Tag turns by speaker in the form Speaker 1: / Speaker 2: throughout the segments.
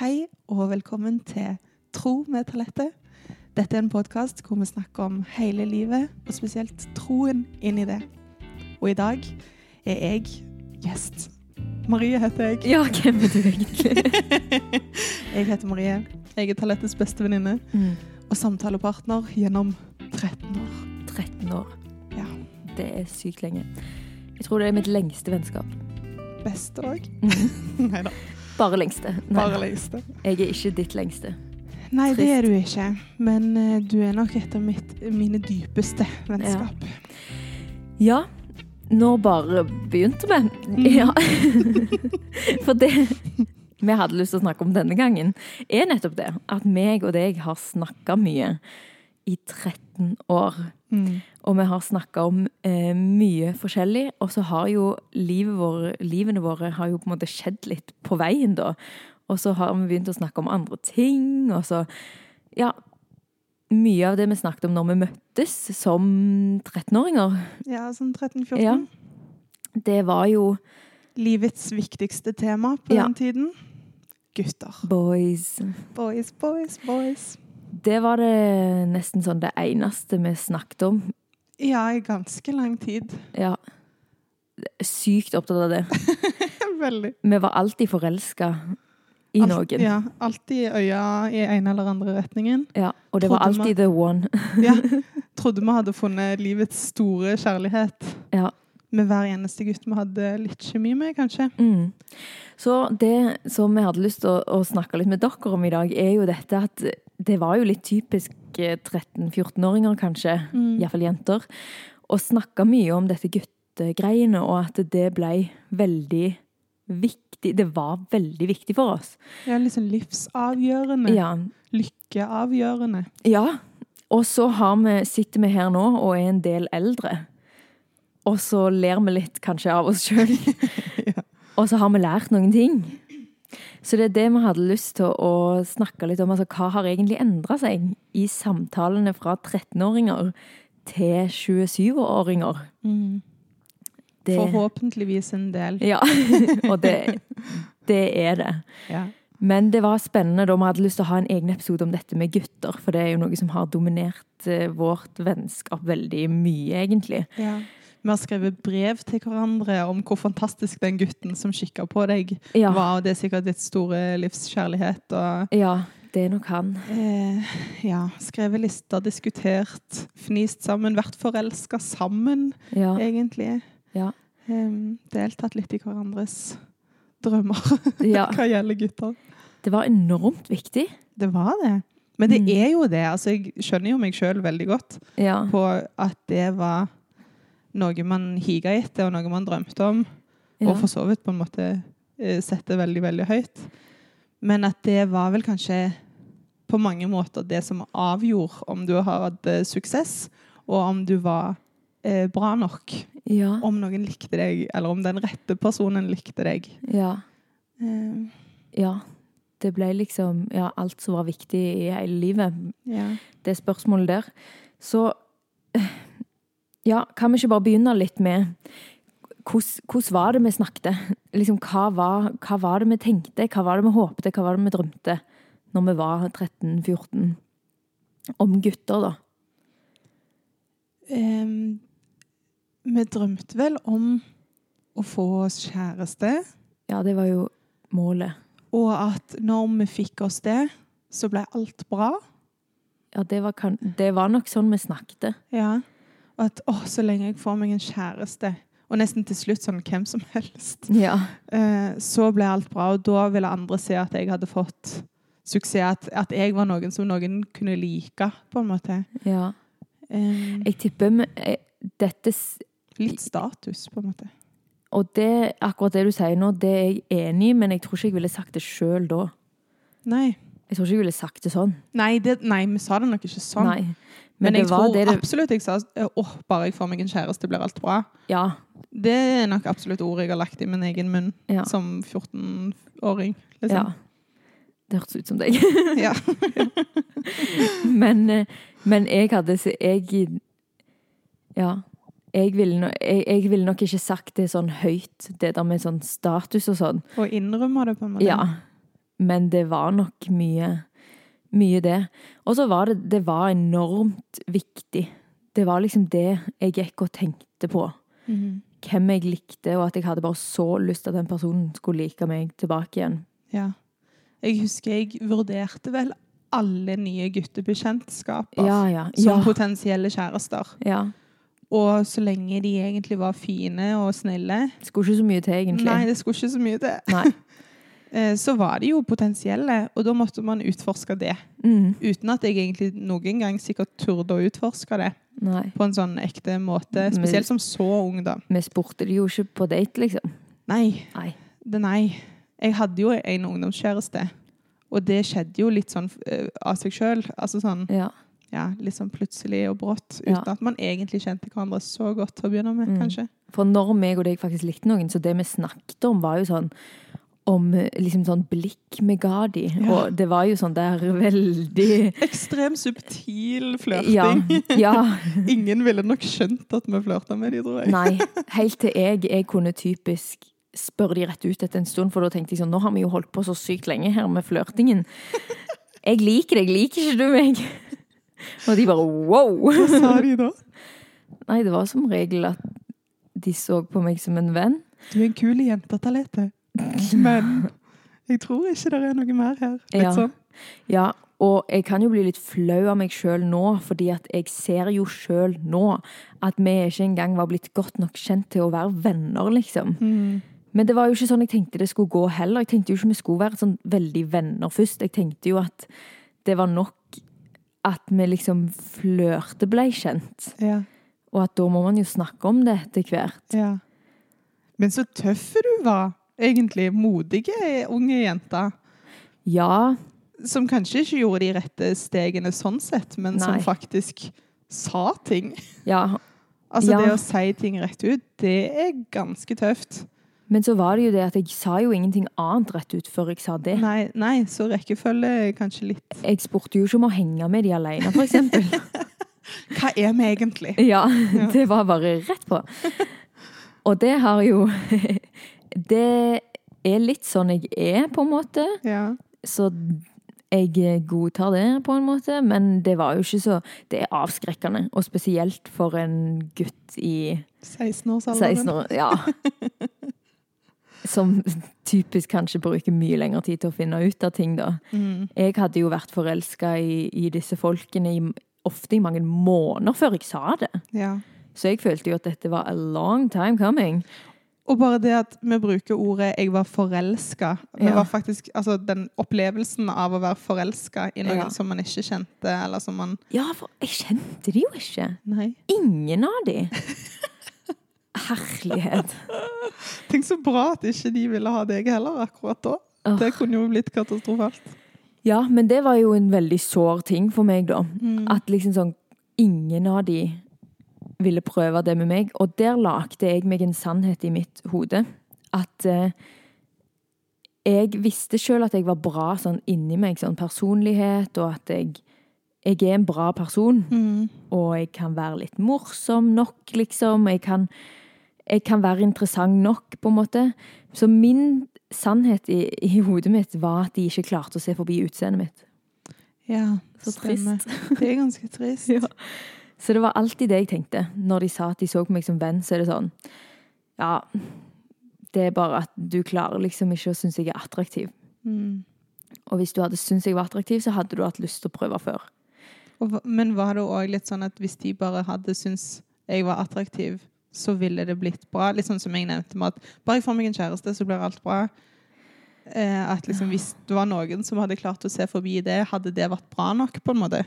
Speaker 1: Hei og velkommen til Tro med Talette. Dette er en podkast hvor vi snakker om hele livet, og spesielt troen inn i det. Og i dag er jeg gjest. Marie heter jeg.
Speaker 2: Ja, hvem er du egentlig?
Speaker 1: Jeg heter Marie. Jeg er Talettes beste venninne og samtalepartner gjennom 13 år.
Speaker 2: 13 år.
Speaker 1: Ja.
Speaker 2: Det er sykt lenge. Jeg tror det er mitt lengste vennskap.
Speaker 1: Beste òg.
Speaker 2: Mm.
Speaker 1: Nei da,
Speaker 2: Bare lengste. Nei,
Speaker 1: bare lengste.
Speaker 2: jeg er ikke ditt lengste.
Speaker 1: Nei, det
Speaker 2: Trist.
Speaker 1: er du ikke. Men eh, du er nok et av mitt, mine dypeste vennskap.
Speaker 2: Ja, når bare begynte vi.
Speaker 1: Mm.
Speaker 2: Ja. For det vi hadde lyst til å snakke om denne gangen, er nettopp det. At meg og deg har snakka mye i 13 år.
Speaker 1: Mm.
Speaker 2: Og vi har snakka om eh, mye forskjellig. Og så har jo livet vår, livene våre har jo på en måte skjedd litt på veien, da. Og så har vi begynt å snakke om andre ting, og så Ja. Mye av det vi snakket om når vi møttes som 13-åringer,
Speaker 1: Ja, sånn 13-14.
Speaker 2: Ja. det var jo
Speaker 1: livets viktigste tema på
Speaker 2: Ja.
Speaker 1: den tiden. Gutter.
Speaker 2: boys.
Speaker 1: Boys, boys, boys.
Speaker 2: Det var det nesten sånn det eneste vi snakket om.
Speaker 1: Ja, i ganske lang tid.
Speaker 2: Ja. Sykt opptatt av det.
Speaker 1: Veldig.
Speaker 2: Vi var alltid forelska i
Speaker 1: Alt-
Speaker 2: noen.
Speaker 1: Ja, alltid i øya i ene eller andre retningen.
Speaker 2: Ja, og det var
Speaker 1: Trodde vi-
Speaker 2: alltid the one.
Speaker 1: Ja, Trodde vi hadde funnet livets store kjærlighet
Speaker 2: Ja.
Speaker 1: med hver eneste gutt vi hadde litt kjemi med, kanskje.
Speaker 2: Mm. Så det som jeg hadde lyst til å, å snakke litt med dere om i dag, er jo dette at det var jo litt typisk eh, 13-14-åringer, kanskje, iallfall jenter, å snakke mye om dette guttegreiene, og at det ble veldig viktig. Det var veldig viktig for oss.
Speaker 1: Ja, liksom livsavgjørende.
Speaker 2: Ja.
Speaker 1: Lykkeavgjørende.
Speaker 2: ja. Og så har vi, sitter vi her nå og er en del eldre. Og så ler vi litt kanskje av oss sjøl.
Speaker 1: Ja.
Speaker 2: Og så har vi lært noen ting. Så det er det vi hadde lyst til å snakke litt om. Altså, hva har egentlig endra seg i samtalene fra 13-åringer til 27-åringer? Mm. Det-
Speaker 1: Forhåpentligvis en del.
Speaker 2: Ja. Og det, det er det.
Speaker 1: Ja.
Speaker 2: Men det var spennende da vi hadde lyst til å ha en egen episode om dette med gutter. For det er jo noe som har dominert eh, vårt vennskap veldig mye, egentlig.
Speaker 1: Ja. Vi har skrevet brev til hverandre om hvor fantastisk den gutten som kikka på deg,
Speaker 2: Ja.
Speaker 1: var. Og det er sikkert ditt store livskjærlighet. Og
Speaker 2: Ja, det er nok han.
Speaker 1: eh, ja, skrevet lister, diskutert, fnist sammen, vært forelska sammen,
Speaker 2: Ja.
Speaker 1: egentlig.
Speaker 2: ja.
Speaker 1: Em, deltatt litt i hverandres drømmer
Speaker 2: ja.
Speaker 1: hva gjelder gutter.
Speaker 2: Det var enormt viktig.
Speaker 1: Det var det. Men det
Speaker 2: Mm.
Speaker 1: er jo det. Altså, jeg skjønner jo meg sjøl veldig godt
Speaker 2: Ja.
Speaker 1: på at det var noe man higa etter, og noe man drømte om.
Speaker 2: ja.
Speaker 1: og for så vidt på en måte eh, sette veldig, veldig høyt. Men at det var vel kanskje på mange måter det som avgjorde om du hadde suksess, og om du var eh, bra nok.
Speaker 2: ja.
Speaker 1: Om noen likte deg, eller om den rette personen likte deg.
Speaker 2: ja.
Speaker 1: Eh,
Speaker 2: Ja. Det ble liksom ja, alt som var viktig i hele livet,
Speaker 1: ja.
Speaker 2: det spørsmålet der. Så eh, ja, kan vi ikke bare begynne litt med hvordan hvordan var det vi snakket? Liksom, hva, var, hva var det vi tenkte? Hva var det vi håpte? Hva var det vi drømte når vi var 13-14? Om gutter, da.
Speaker 1: Em, ehm, vi drømte vel om å få oss kjæreste,
Speaker 2: Ja, det var jo målet.
Speaker 1: og at når vi fikk oss det, så ble alt bra.
Speaker 2: Ja, det var, kan, det var nok sånn vi snakket.
Speaker 1: Ja. Og at å, så lenge jeg får meg en kjæreste, og nesten til slutt sånn hvem som helst,
Speaker 2: Ja.
Speaker 1: eh, så ble alt bra. Og da ville andre se at jeg hadde fått suksess, at, at jeg var noen som noen kunne like, på en måte.
Speaker 2: ja.
Speaker 1: Eh,
Speaker 2: Jeg tipper vi- eh, dette s-
Speaker 1: litt status, på en måte.
Speaker 2: Og det, akkurat det du sier nå, det er jeg enig i, men jeg tror ikke jeg ville sagt det sjøl da.
Speaker 1: Nei.
Speaker 2: Jeg tror ikke jeg ville sagt det sånn.
Speaker 1: Nei, det, nei, vi sa det nok ikke sånn.
Speaker 2: Nei.
Speaker 1: Men,
Speaker 2: Men, det
Speaker 1: jeg
Speaker 2: var
Speaker 1: tror
Speaker 2: det det
Speaker 1: absolutt jeg sa eh, åh, bare jeg får meg en kjæreste, blir alt bra.
Speaker 2: Ja.
Speaker 1: Det er nok absolutt ord jeg har lagt i min egen munn
Speaker 2: Ja.
Speaker 1: som 14-åring.
Speaker 2: ja.
Speaker 1: Liksom.
Speaker 2: Det hørtes ut som deg.
Speaker 1: Ja.
Speaker 2: men, eh, men jeg hadde se- Jeg Ja. Jeg ville, no, jeg, jeg ville nok ikke sagt det sånn høyt, det der med sånn status og sånn.
Speaker 1: Og innrømmer det, på en måte.
Speaker 2: Ja. men det var nok mye, mye det. Og så var det Det var enormt viktig. Det var liksom det jeg gikk og tenkte på.
Speaker 1: Mhm.
Speaker 2: Hvem jeg likte, og at jeg hadde bare så lyst til at den personen skulle like meg tilbake igjen.
Speaker 1: Ja. Jeg husker jeg vurderte vel alle nye guttebekjentskaper
Speaker 2: Ja, ja.
Speaker 1: som
Speaker 2: Ja.
Speaker 1: potensielle kjærester.
Speaker 2: ja.
Speaker 1: Og så lenge de egentlig var fine og snille
Speaker 2: Skulle ikke så mye til, egentlig.
Speaker 1: Nei, det skulle ikke så mye til.
Speaker 2: Nei.
Speaker 1: Eh, Så var de jo potensielle, og da måtte man utforske det.
Speaker 2: Mm.
Speaker 1: Uten at jeg egentlig noen gang sikkert turde å utforske det
Speaker 2: Nei.
Speaker 1: på en sånn ekte måte. Spesielt som så ung, da.
Speaker 2: Vi spurte de jo ikke på date, liksom.
Speaker 1: Nei.
Speaker 2: Nei.
Speaker 1: det nei. Jeg hadde jo en ungdomskjæreste, og det skjedde jo litt sånn eh, av seg sjøl. Altså sånn
Speaker 2: Ja.
Speaker 1: ja, litt sånn plutselig og brått, uten
Speaker 2: Ja.
Speaker 1: at man egentlig kjente hverandre så godt til å begynne med,
Speaker 2: Mm.
Speaker 1: kanskje.
Speaker 2: For når meg og deg faktisk likte noen, så det vi snakket om, var jo sånn om eh, liksom sånn blikk vi ga de.
Speaker 1: Ja.
Speaker 2: Og det var jo sånn der veldig
Speaker 1: Ekstrem subtil
Speaker 2: Ja.
Speaker 1: flørting.
Speaker 2: ja
Speaker 1: Ingen ville nok skjønt at vi flørta med de, tror jeg.
Speaker 2: nei. Helt til jeg, jeg kunne typisk spørre de rett ut etter en stund, for da tenkte jeg sånn Nå har vi jo holdt på så sykt lenge her med flørtingen. Jeg liker deg, liker ikke du meg? Og de bare wow!
Speaker 1: Hva sa de da?
Speaker 2: Nei, det var som regel at de så på meg som en venn.
Speaker 1: Du er en kul jente, Talete. Men jeg tror ikke det er noe mer her. Litt
Speaker 2: Ja.
Speaker 1: sånn.
Speaker 2: Ja, og jeg kan jo bli litt flau av meg sjøl nå, fordi at jeg ser jo sjøl nå at vi ikke engang var blitt godt nok kjent til å være venner, liksom. Men det var jo ikke sånn jeg tenkte det skulle gå heller. Jeg tenkte jo ikke vi skulle være sånn veldig venner først. Jeg tenkte jo at det var nok at vi liksom flørte blei kjent,
Speaker 1: Ja,
Speaker 2: og at da må man jo snakke om det etter hvert.
Speaker 1: ja. Men så tøff du var, egentlig. Modige unge jenter.
Speaker 2: Ja,
Speaker 1: Som kanskje ikke gjorde de rette stegene sånn sett, men som
Speaker 2: Nei.
Speaker 1: faktisk sa ting.
Speaker 2: ja.
Speaker 1: Altså
Speaker 2: Ja.
Speaker 1: det å si ting rett ut, det er ganske tøft.
Speaker 2: Men så var det jo det at jeg sa jo ingenting annet rett ut før jeg sa det.
Speaker 1: Nei, nei, så rekkefølge er kanskje litt
Speaker 2: Jeg spurte jo ikke om å henge med de alene, for eksempel.
Speaker 1: Hva er vi egentlig?
Speaker 2: Ja, det var bare rett på. Og det har jo Det er litt sånn jeg er, på en måte.
Speaker 1: Ja.
Speaker 2: Så jeg godtar det, på en måte. Men det var jo ikke så Det er avskrekkende. Og spesielt for en gutt i 16
Speaker 1: 16-årsalderen.
Speaker 2: år. Ja. Som typisk kanskje bruker mye lengre tid til å finne ut av ting, da. Jeg hadde jo vært forelska i, i disse folkene i, ofte i mange måneder før jeg sa det.
Speaker 1: Ja.
Speaker 2: Så jeg følte jo at dette var a long time coming.
Speaker 1: Og bare det at vi bruker ordet 'jeg var forelska'. Vi
Speaker 2: Ja.
Speaker 1: var faktisk, altså, den opplevelsen av å være forelska i noen
Speaker 2: Ja.
Speaker 1: som man ikke kjente, eller som man
Speaker 2: Ja, for jeg kjente de jo ikke.
Speaker 1: Nei.
Speaker 2: Ingen av de. Herlighet.
Speaker 1: Tenk så bra at ikke de ville ha deg heller akkurat da.
Speaker 2: Åh.
Speaker 1: Det kunne jo blitt katastrofalt.
Speaker 2: Ja, men det var jo en veldig sår ting for meg, da. At liksom sånn Ingen av de ville prøve det med meg. Og der lagde jeg meg en sannhet i mitt hode. At eh, jeg visste sjøl at jeg var bra sånn inni meg, sånn personlighet, og at jeg, jeg er en bra person. Og jeg kan være litt morsom nok, liksom. Jeg kan, jeg kan være interessant nok, på en måte. Så min sannhet i, i hodet mitt var at de ikke klarte å se forbi utseendet mitt.
Speaker 1: Ja,
Speaker 2: Så
Speaker 1: stemmer. Det er ganske trist.
Speaker 2: Ja. Så det var alltid det jeg tenkte. Når de sa at de så på meg som venn, så er det sånn Ja, det er bare at du klarer liksom ikke å synes jeg er attraktiv.
Speaker 1: Mm.
Speaker 2: Og hvis du hadde syntes jeg var attraktiv, så hadde du hatt lyst til å prøve før.
Speaker 1: Og, hva- men var det òg litt sånn at hvis de bare hadde syntes jeg var attraktiv, så ville det blitt bra? Litt sånn som jeg nevnte med at bare jeg får meg en kjæreste, så blir alt bra. Eh, at liksom hvis det var noen som hadde klart å se forbi det, hadde det vært bra nok, på en måte?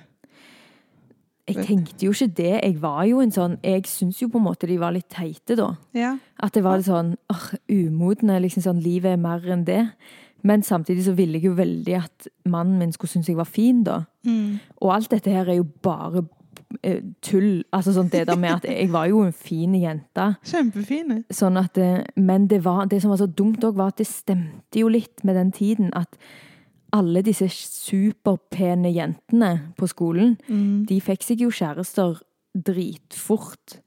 Speaker 2: Jeg tenkte jo ikke det. Jeg var jo en sånn Jeg syns jo på en måte de var litt teite, da.
Speaker 1: Ja.
Speaker 2: At det var litt sånn åh, umodne. liksom sånn, Livet er mer enn det. Men samtidig så ville jeg jo veldig at mannen min skulle synes jeg var fin, da. Og alt dette her er jo bare eh, tull. Altså sånn det der med at jeg var jo en fin jente.
Speaker 1: Kjempefine.
Speaker 2: Sånn at, eh, men det, var, det som var så dumt òg, var at det stemte jo litt med den tiden at alle disse superpene jentene på skolen, de fikk seg jo kjærester dritfort.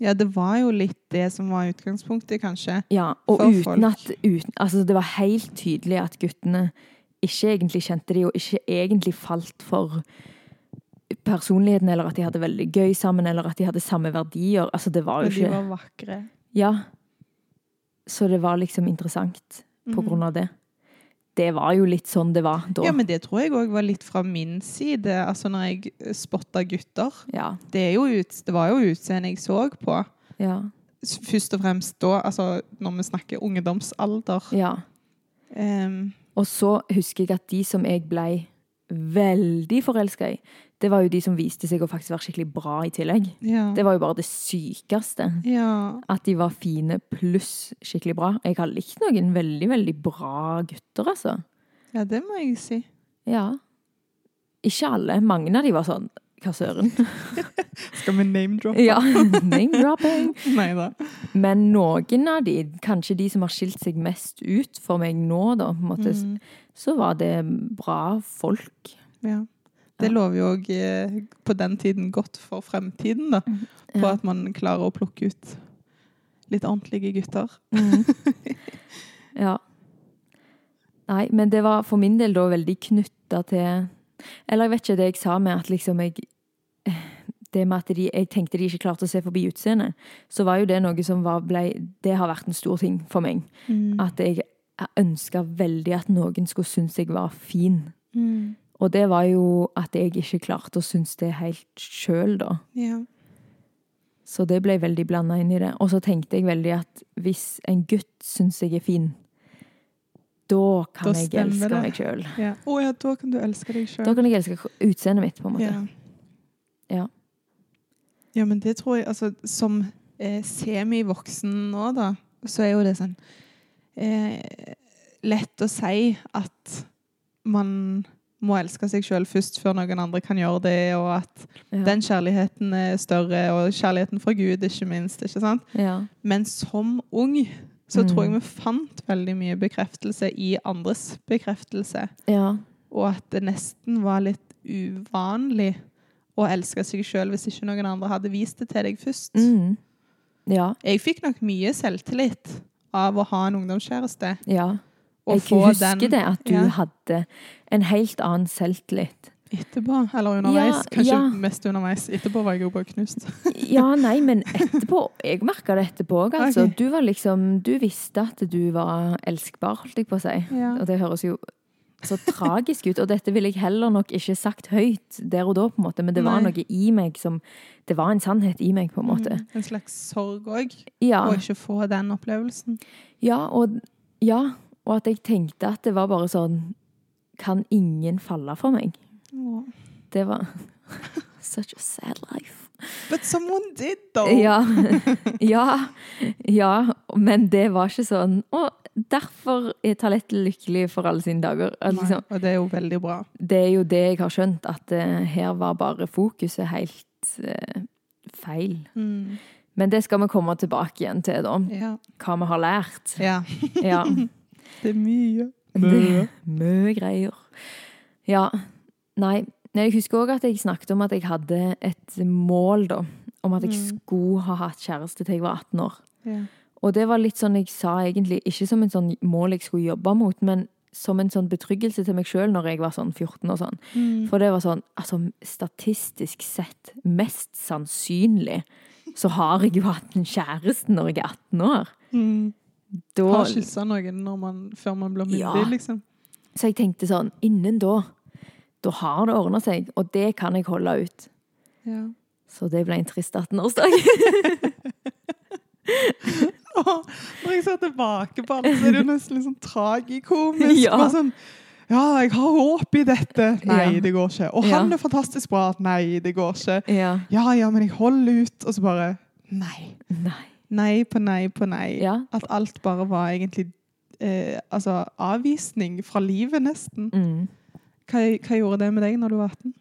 Speaker 1: Ja, det var jo litt det som var utgangspunktet, kanskje.
Speaker 2: Ja, og
Speaker 1: For folk.
Speaker 2: uten at uten, altså Det var helt tydelig at guttene ikke egentlig kjente de, og ikke egentlig falt for personligheten, eller at de hadde veldig gøy sammen, eller at de hadde samme verdier. Altså, det var
Speaker 1: Men
Speaker 2: jo
Speaker 1: de
Speaker 2: ikke
Speaker 1: var vakre.
Speaker 2: Ja. Så det var liksom interessant på
Speaker 1: Mhm.
Speaker 2: grunn av det. Det var jo litt sånn det var da.
Speaker 1: Ja, men det tror jeg òg var litt fra min side, altså når jeg spotta gutter.
Speaker 2: Ja.
Speaker 1: Det, er jo ut, det var jo utseendet jeg så på.
Speaker 2: Ja.
Speaker 1: S- Først og fremst da, altså når vi snakker ungdomsalder.
Speaker 2: ja.
Speaker 1: Ehm,
Speaker 2: Og så husker jeg at de som jeg ble veldig forelska i, det var jo de som viste seg å faktisk være skikkelig bra i tillegg.
Speaker 1: ja.
Speaker 2: Det var jo bare det sykeste.
Speaker 1: ja.
Speaker 2: At de var fine pluss skikkelig bra. Jeg har likt noen veldig, veldig bra gutter, altså.
Speaker 1: ja, det må jeg si.
Speaker 2: Ja. Ikke alle. Mange av de var sånn Hva søren?
Speaker 1: Skal vi name-droppe?
Speaker 2: Ja. Name-dropping.
Speaker 1: Nei da.
Speaker 2: Men noen av de, kanskje de som har skilt seg mest ut for meg nå, da, på en måte,
Speaker 1: Mm.
Speaker 2: så var det bra folk.
Speaker 1: Ja. Det lover jo òg eh, på den tiden godt for fremtiden, da. På
Speaker 2: Mm. Ja.
Speaker 1: at man klarer å plukke ut litt ordentlige gutter.
Speaker 2: Ja. Nei, men det var for min del da veldig knytta til Eller jeg vet ikke det jeg sa med at liksom jeg Det med at de, jeg tenkte de ikke klarte å se forbi utseendet, så var jo det noe som var ble, Det har vært en stor ting for meg.
Speaker 1: Mm.
Speaker 2: At jeg ønska veldig at noen skulle synes jeg var fin.
Speaker 1: Mm.
Speaker 2: Og det var jo at jeg ikke klarte å synes det helt sjøl, da.
Speaker 1: Ja.
Speaker 2: Så det ble veldig blanda inn i det. Og så tenkte jeg veldig at hvis en gutt syns jeg er fin, da kan
Speaker 1: Da
Speaker 2: jeg
Speaker 1: stemmer
Speaker 2: elske
Speaker 1: det.
Speaker 2: meg sjøl.
Speaker 1: Ja. Å ja, da kan du elske deg
Speaker 2: Da
Speaker 1: sjøl.
Speaker 2: kan jeg elske k- utseendet mitt, på en måte.
Speaker 1: Ja.
Speaker 2: Ja.
Speaker 1: ja, men det tror jeg Altså, som eh, semivoksen nå, da, så er jo det sånn eh, Lett å si at man må elske seg sjøl først, før noen andre kan gjøre det, og at
Speaker 2: Ja.
Speaker 1: den kjærligheten er større, og kjærligheten fra Gud, ikke minst. ikke sant?
Speaker 2: Ja.
Speaker 1: Men som ung så
Speaker 2: Mm.
Speaker 1: tror jeg vi fant veldig mye bekreftelse i andres bekreftelse.
Speaker 2: ja.
Speaker 1: Og at det nesten var litt uvanlig å elske seg sjøl hvis ikke noen andre hadde vist det til deg først.
Speaker 2: Mm. Ja.
Speaker 1: Jeg fikk nok mye selvtillit av å ha en ungdomskjæreste.
Speaker 2: Ja.
Speaker 1: Og
Speaker 2: Jeg
Speaker 1: få
Speaker 2: husker
Speaker 1: den
Speaker 2: det, at du
Speaker 1: ja.
Speaker 2: hadde en helt annen selvtillit.
Speaker 1: etterpå, eller underveis.
Speaker 2: Ja,
Speaker 1: Kanskje
Speaker 2: ja.
Speaker 1: mest underveis. Etterpå var jeg jo bare knust.
Speaker 2: Ja, nei, men etterpå Jeg merka det etterpå òg, altså.
Speaker 1: Ok.
Speaker 2: Du var liksom Du visste at du var elskbar, holdt jeg på å si.
Speaker 1: Ja.
Speaker 2: Og det høres jo så tragisk ut. Og dette ville jeg heller nok ikke sagt høyt der og da, på en måte. Men det var
Speaker 1: Nei.
Speaker 2: noe i meg som Det var en sannhet i meg, på en måte.
Speaker 1: Mm, En slags sorg òg,
Speaker 2: Ja.
Speaker 1: å ikke få den opplevelsen.
Speaker 2: Ja, og, ja, og at jeg tenkte at det var bare sånn Kan ingen falle for meg?
Speaker 1: Åh.
Speaker 2: Det var Such a sad life.
Speaker 1: But someone did, though!
Speaker 2: Ja. Ja. ja men det var ikke sånn Og derfor er Talett lykkelig for alle sine dager. At
Speaker 1: Nei,
Speaker 2: liksom,
Speaker 1: og det er jo veldig bra.
Speaker 2: det er jo det jeg har skjønt, at eh, her var bare fokuset helt eh, feil.
Speaker 1: Mm.
Speaker 2: Men det skal vi komme tilbake igjen til, da.
Speaker 1: Ja.
Speaker 2: Hva vi har lært.
Speaker 1: ja.
Speaker 2: Ja.
Speaker 1: Det er mye.
Speaker 2: Det- Mye greier. Ja. Nei. Nei, Jeg husker òg at jeg snakket om at jeg hadde et mål, da. Om at jeg skulle ha hatt kjæreste til jeg var 18 år.
Speaker 1: Ja.
Speaker 2: Og det var litt sånn jeg sa egentlig, ikke som en sånn mål jeg skulle jobbe mot, men som en sånn betryggelse til meg sjøl når jeg var sånn 14 og sånn. For det var sånn, altså statistisk sett, mest sannsynlig så har jeg jo hatt en kjæreste når jeg er 18 år.
Speaker 1: Mm.
Speaker 2: Da,
Speaker 1: Har kyssa noen når man, før man blir myndig,
Speaker 2: Ja.
Speaker 1: liksom.
Speaker 2: så jeg tenkte sånn, innen da, da har det ordna seg, og det kan jeg holde ut.
Speaker 1: Ja.
Speaker 2: Så det ble en trist 18-årsdag.
Speaker 1: Åh, når jeg ser tilbake på det, så er det jo nesten litt sånn tragikomisk.
Speaker 2: Ja.
Speaker 1: Bare sånn Ja, jeg har håp i dette. Nei,
Speaker 2: Ja.
Speaker 1: det går ikke. Og
Speaker 2: Ja.
Speaker 1: han er fantastisk bra. Nei, det går ikke.
Speaker 2: Ja.
Speaker 1: Ja, ja, men jeg holder ut. Og så bare Nei.
Speaker 2: Nei.
Speaker 1: Nei på nei på nei.
Speaker 2: Ja.
Speaker 1: At alt bare var egentlig eh, altså, avvisning fra livet, nesten.
Speaker 2: Mm.
Speaker 1: Hva, hva gjorde det med deg når du var 18?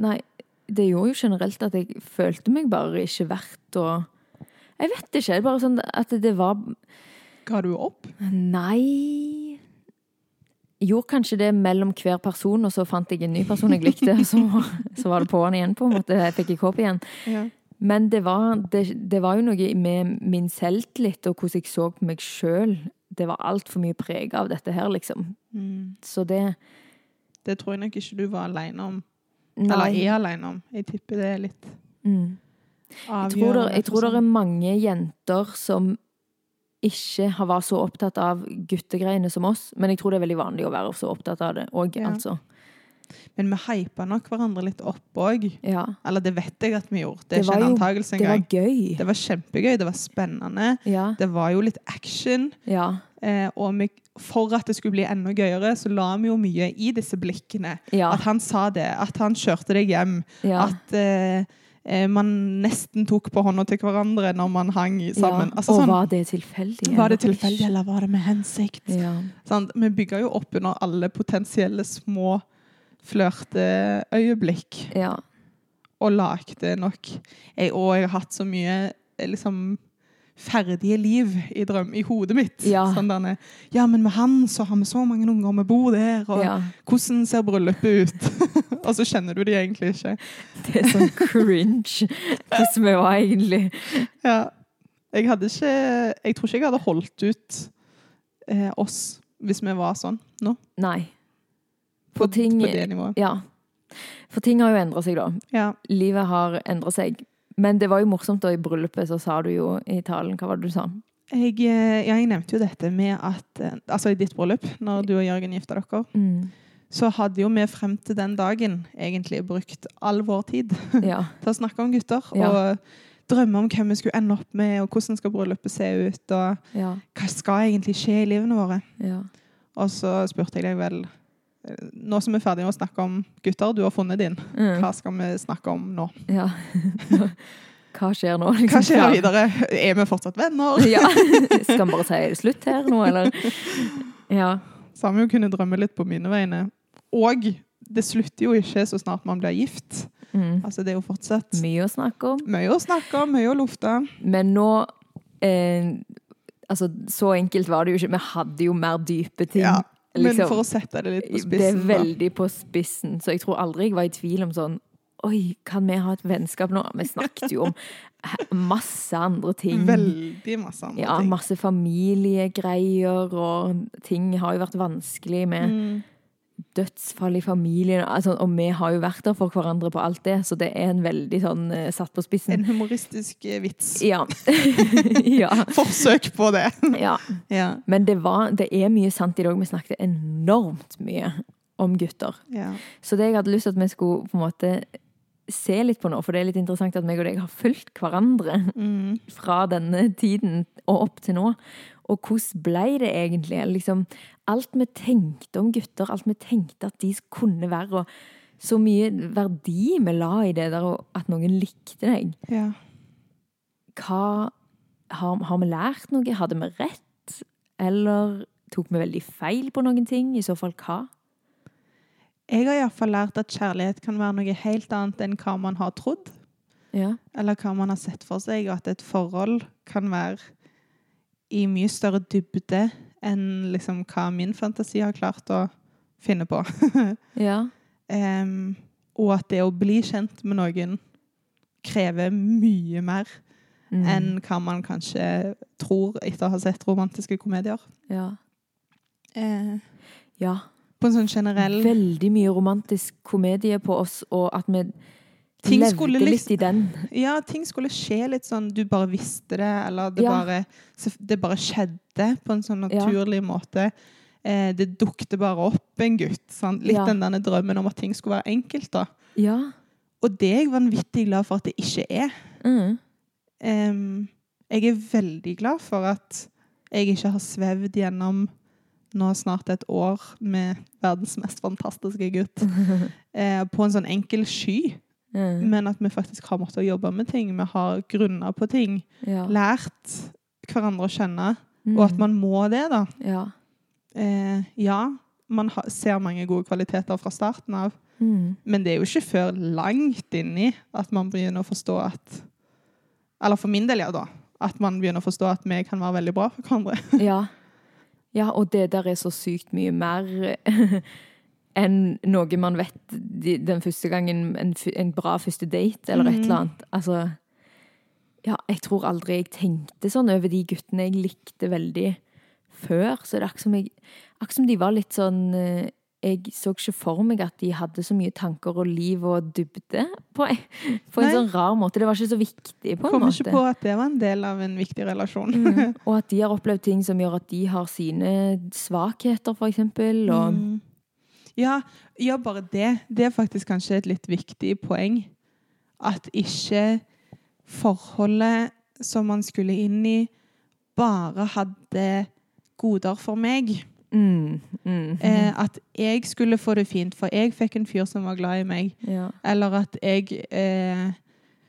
Speaker 2: Nei, det gjorde jo generelt at jeg følte meg bare ikke verdt å Jeg vet ikke. det er Bare sånn at det var
Speaker 1: Ga du opp?
Speaker 2: Nei Gjorde kanskje det mellom hver person, og så fant jeg en ny person jeg likte. og Så, så var det på'n igjen, på en måte. Jeg fikk ikke håp igjen.
Speaker 1: Ja.
Speaker 2: Men det var, det, det var jo noe med min selvtillit og hvordan jeg så på meg sjøl. Det var altfor mye preg av dette her, liksom.
Speaker 1: Mm.
Speaker 2: Så det
Speaker 1: Det tror jeg nok ikke du var alene om. Eller
Speaker 2: Nei.
Speaker 1: er alene om. Jeg tipper det er litt
Speaker 2: Mm. Jeg tror,
Speaker 1: avgjørende. sånn.
Speaker 2: der, jeg tror det er mange jenter som ikke har vært så opptatt av guttegreiene som oss, men jeg tror det er veldig vanlig å være så opptatt av det òg,
Speaker 1: Ja.
Speaker 2: altså.
Speaker 1: Men vi hypa nok hverandre litt opp òg.
Speaker 2: Ja.
Speaker 1: Eller det vet jeg at vi gjorde. Det er
Speaker 2: Det
Speaker 1: ikke
Speaker 2: var
Speaker 1: en
Speaker 2: jo-
Speaker 1: antakelse
Speaker 2: Det var
Speaker 1: engang.
Speaker 2: gøy.
Speaker 1: Det var kjempegøy. Det var spennende.
Speaker 2: Ja.
Speaker 1: Det var jo litt action.
Speaker 2: Ja.
Speaker 1: Eh, og vi, for at det skulle bli enda gøyere, så la vi jo mye i disse blikkene.
Speaker 2: Ja.
Speaker 1: At han sa det, at han kjørte deg hjem,
Speaker 2: ja.
Speaker 1: at eh, eh, man nesten tok på hånda til hverandre når man hang sammen.
Speaker 2: Ja.
Speaker 1: Altså,
Speaker 2: Og
Speaker 1: sånn,
Speaker 2: var det tilfeldig?
Speaker 1: var det
Speaker 2: eller ikke?
Speaker 1: tilfeldig, eller var det med hensikt?
Speaker 2: Ja.
Speaker 1: Sant? Vi bygger jo opp under alle potensielle små flørteøyeblikk.
Speaker 2: ja.
Speaker 1: og lagde nok. Jeg, og jeg har hatt så mye eh, liksom, ferdige liv i, drøm, i hodet mitt.
Speaker 2: Ja.
Speaker 1: Sånn derne, ja, men med han så har vi så mange unger, vi bor der, og
Speaker 2: ja.
Speaker 1: hvordan ser bryllupet ut? og så kjenner du de egentlig ikke.
Speaker 2: Det er sånn cringe hvordan vi var egentlig.
Speaker 1: Ja. Jeg hadde ikke Jeg tror ikke jeg hadde holdt ut eh, oss hvis vi var sånn nå.
Speaker 2: Nei. For ting,
Speaker 1: På det nivået.
Speaker 2: ja. For ting har jo endra seg, da.
Speaker 1: Ja.
Speaker 2: Livet har endra seg. Men det var jo morsomt, da. I bryllupet så sa du jo i talen Hva var det du sa?
Speaker 1: Jeg, eh, ja, jeg nevnte jo dette med at eh, Altså, i ditt bryllup, når du og Jørgen gifta dere,
Speaker 2: Mm.
Speaker 1: så hadde jo vi frem til den dagen egentlig brukt all vår tid
Speaker 2: Ja.
Speaker 1: til å snakke om gutter.
Speaker 2: Ja.
Speaker 1: Og drømme om hvem vi skulle ende opp med, og hvordan skal bryllupet se ut, og
Speaker 2: Ja.
Speaker 1: hva skal egentlig skje i livene våre.
Speaker 2: ja.
Speaker 1: Og så spurte jeg deg vel eh, Nå som vi er ferdige med å snakke om gutter, du har funnet din,
Speaker 2: Mm.
Speaker 1: hva skal vi snakke om nå?
Speaker 2: ja. Hva skjer nå?
Speaker 1: Hva
Speaker 2: liksom?
Speaker 1: skjer
Speaker 2: Ja.
Speaker 1: videre? Er vi fortsatt venner?
Speaker 2: Ja. Skal vi bare si slutt her nå, eller? Ja.
Speaker 1: Så har vi jo kunnet drømme litt på mine vegne. Og det slutter jo ikke så snart man blir gift.
Speaker 2: Mm.
Speaker 1: Altså, det er jo fortsatt
Speaker 2: Mye å snakke om.
Speaker 1: mye å snakke om, mye å lufte.
Speaker 2: Men nå eh, Altså, så enkelt var det jo ikke. Vi hadde jo mer dype ting.
Speaker 1: Ja, Men
Speaker 2: liksom.
Speaker 1: for å sette det litt på
Speaker 2: det er
Speaker 1: spissen da.
Speaker 2: veldig på spissen, så jeg tror aldri jeg var i tvil om sånn Oi, kan vi ha et vennskap nå? Vi snakket jo om he- masse andre ting.
Speaker 1: Veldig masse andre
Speaker 2: ja,
Speaker 1: ting.
Speaker 2: masse familiegreier, og ting har jo vært vanskelig med
Speaker 1: Mm.
Speaker 2: dødsfall i familien. Altså, og vi har jo vært der for hverandre på alt det, så det er en veldig sånn eh, satt på spissen.
Speaker 1: En humoristisk eh, vits.
Speaker 2: Ja. ja.
Speaker 1: Forsøk på det.
Speaker 2: ja.
Speaker 1: ja.
Speaker 2: Men det, var, det er mye sant i dag. Vi snakket enormt mye om gutter.
Speaker 1: ja.
Speaker 2: Så det jeg hadde lyst til at vi skulle på en måte se litt på nå, for det er litt interessant at meg og deg har fulgt hverandre
Speaker 1: Mm.
Speaker 2: fra denne tiden og opp til nå. Og hvordan ble det egentlig? Liksom, alt vi tenkte om gutter, alt vi tenkte at de kunne være, og så mye verdi vi la i det der, og at noen likte deg.
Speaker 1: ja.
Speaker 2: Hva, har, har vi lært noe? Hadde vi rett? Eller tok vi veldig feil på noen ting? I så fall hva?
Speaker 1: Jeg har iallfall lært at kjærlighet kan være noe helt annet enn hva man har trodd,
Speaker 2: Ja.
Speaker 1: eller hva man har sett for seg, og at et forhold kan være i mye større dybde enn liksom hva min fantasi har klart å finne på.
Speaker 2: Ja.
Speaker 1: Em, og at det å bli kjent med noen krever mye mer
Speaker 2: Mm.
Speaker 1: enn hva man kanskje tror etter å ha sett romantiske komedier.
Speaker 2: ja.
Speaker 1: Eh,
Speaker 2: Ja.
Speaker 1: på en sånn generell
Speaker 2: veldig mye romantisk komedie på oss, og at vi
Speaker 1: Ting
Speaker 2: levde
Speaker 1: skulle
Speaker 2: litt
Speaker 1: liksom-
Speaker 2: i den.
Speaker 1: Ja, ting skulle skje litt sånn du bare visste det, eller det,
Speaker 2: Ja.
Speaker 1: bare, så det bare skjedde på en sånn
Speaker 2: Ja.
Speaker 1: naturlig måte. Eh, det dukte bare opp en gutt. Sant? Litt
Speaker 2: Ja.
Speaker 1: den denne drømmen om at ting skulle være enkelt. da.
Speaker 2: Ja.
Speaker 1: Og det er jeg vanvittig glad for at det ikke er.
Speaker 2: Mm.
Speaker 1: Em, jeg er veldig glad for at jeg ikke har svevd gjennom nå snart et år med verdens mest fantastiske gutt eh, på en sånn enkel sky.
Speaker 2: Mm.
Speaker 1: Men at vi faktisk har måttet jobbe med ting. Vi har grunna på ting.
Speaker 2: Ja.
Speaker 1: Lært hverandre å kjenne.
Speaker 2: Mm.
Speaker 1: Og at man må det, da.
Speaker 2: Ja.
Speaker 1: Eh, ja, man ha, ser mange gode kvaliteter fra starten av.
Speaker 2: Mm.
Speaker 1: Men det er jo ikke før langt inni at man begynner å forstå at Eller for min del, ja, da. At man begynner å forstå at vi kan være veldig bra for hverandre.
Speaker 2: ja. Ja, og det der er så sykt mye mer enn noe man vet de- den første gangen, en, fu- en bra første date eller
Speaker 1: Mm.
Speaker 2: et eller annet. Altså, ja, jeg tror aldri jeg tenkte sånn over de guttene jeg likte veldig før, så er det akkurat som, jeg, akkurat som de var litt sånn eh, Jeg så ikke for meg at de hadde så mye tanker og liv og dybde på, en- på en
Speaker 1: Nei.
Speaker 2: sånn rar måte. Det var ikke så viktig, på en
Speaker 1: Kommer
Speaker 2: måte.
Speaker 1: ikke på at det var en del av en viktig relasjon.
Speaker 2: Mm. Og at de har opplevd ting som gjør at de har sine svakheter, for eksempel. Og,
Speaker 1: Mm. Ja, ja, bare det. Det er faktisk kanskje et litt viktig poeng. At ikke forholdet som man skulle inn i, bare hadde goder for meg.
Speaker 2: mm. Mm.
Speaker 1: Eh, at jeg skulle få det fint, for jeg fikk en fyr som var glad i meg.
Speaker 2: Ja.
Speaker 1: Eller at jeg eh,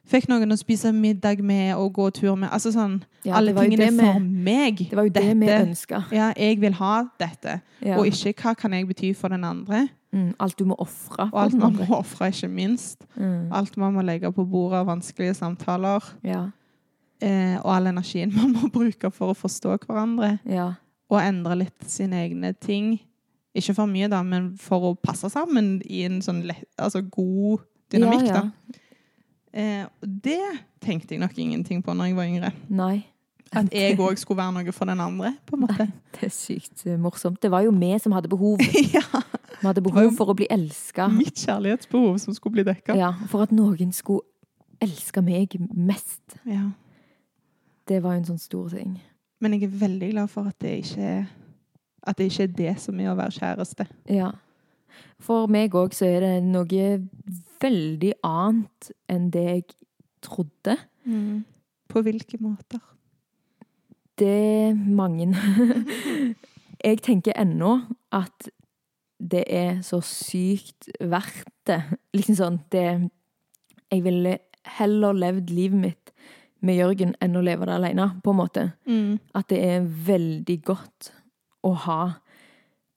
Speaker 1: fikk noen å spise middag med og gå tur med. Altså sånn
Speaker 2: Ja,
Speaker 1: Alle
Speaker 2: det var jo
Speaker 1: tingene
Speaker 2: det vi-
Speaker 1: for meg.
Speaker 2: Det var jo det vi
Speaker 1: Dette-
Speaker 2: ønska.
Speaker 1: Ja, jeg vil ha dette.
Speaker 2: Ja.
Speaker 1: Og ikke hva kan jeg bety for den andre.
Speaker 2: Mm. Alt du må ofre.
Speaker 1: Og
Speaker 2: for
Speaker 1: alt
Speaker 2: den
Speaker 1: man
Speaker 2: andre.
Speaker 1: må ofre, ikke minst.
Speaker 2: Mm.
Speaker 1: Alt man må legge på bordet av vanskelige samtaler.
Speaker 2: Ja.
Speaker 1: Eh, og all energien man må bruke for å forstå hverandre.
Speaker 2: Ja.
Speaker 1: Og endre litt sine egne ting. Ikke for mye, da, men for å passe sammen i en sånn lett, altså god dynamikk.
Speaker 2: ja, ja.
Speaker 1: da. Eh, og det tenkte jeg nok ingenting på når jeg var yngre.
Speaker 2: Nei.
Speaker 1: At jeg òg skulle være noe for den andre, på en måte.
Speaker 2: Det er sykt eh, morsomt. Det var jo vi som hadde behov.
Speaker 1: ja,
Speaker 2: Vi hadde
Speaker 1: var jo-
Speaker 2: behov for å bli elska.
Speaker 1: Mitt kjærlighetsbehov som skulle bli dekka.
Speaker 2: Ja, for at noen skulle elske meg mest.
Speaker 1: Ja.
Speaker 2: Det var jo en sånn stor ting.
Speaker 1: Men jeg er veldig glad for at det ikke er at det ikke er det som er å være kjæreste.
Speaker 2: Ja. For meg òg så er det noe veldig annet enn det jeg trodde. Mm.
Speaker 1: På hvilke måter?
Speaker 2: Det er mange. Jeg tenker ennå at det er så sykt verdt det. Liksom sånn det Jeg ville heller levd livet mitt med Jørgen enn å leve det alene, på en måte. At det er veldig godt å ha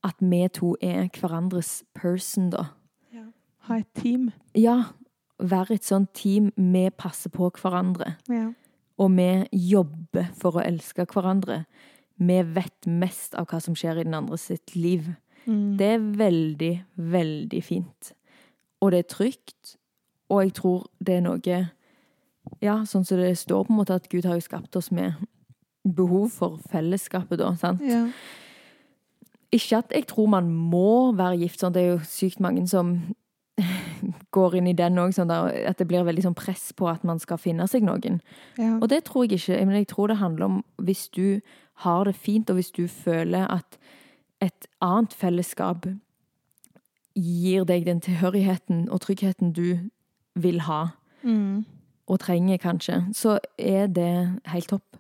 Speaker 2: at vi to er hverandres person, da.
Speaker 1: Ha et team.
Speaker 2: Ja, være et sånt team. Vi passer på hverandre.
Speaker 1: Ja.
Speaker 2: Og vi jobber for å elske hverandre. Vi vet mest av hva som skjer i den andre sitt liv.
Speaker 1: Mm.
Speaker 2: Det er veldig, veldig fint. Og det er trygt. Og jeg tror det er noe Ja, sånn som det står på en måte at Gud har jo skapt oss med behov for fellesskapet, da. sant?
Speaker 1: Ja.
Speaker 2: Ikke at jeg tror man må være gift, sånn. det er jo sykt mange som går inn i den òg, sånn der, at det blir veldig sånn press på at man skal finne seg noen.
Speaker 1: Ja.
Speaker 2: Og det tror jeg ikke. Men jeg tror det handler om hvis du har det fint, og hvis du føler at et annet fellesskap gir deg den tilhørigheten og tryggheten du vil ha,
Speaker 1: Mm.
Speaker 2: og trenger kanskje, så er det helt topp.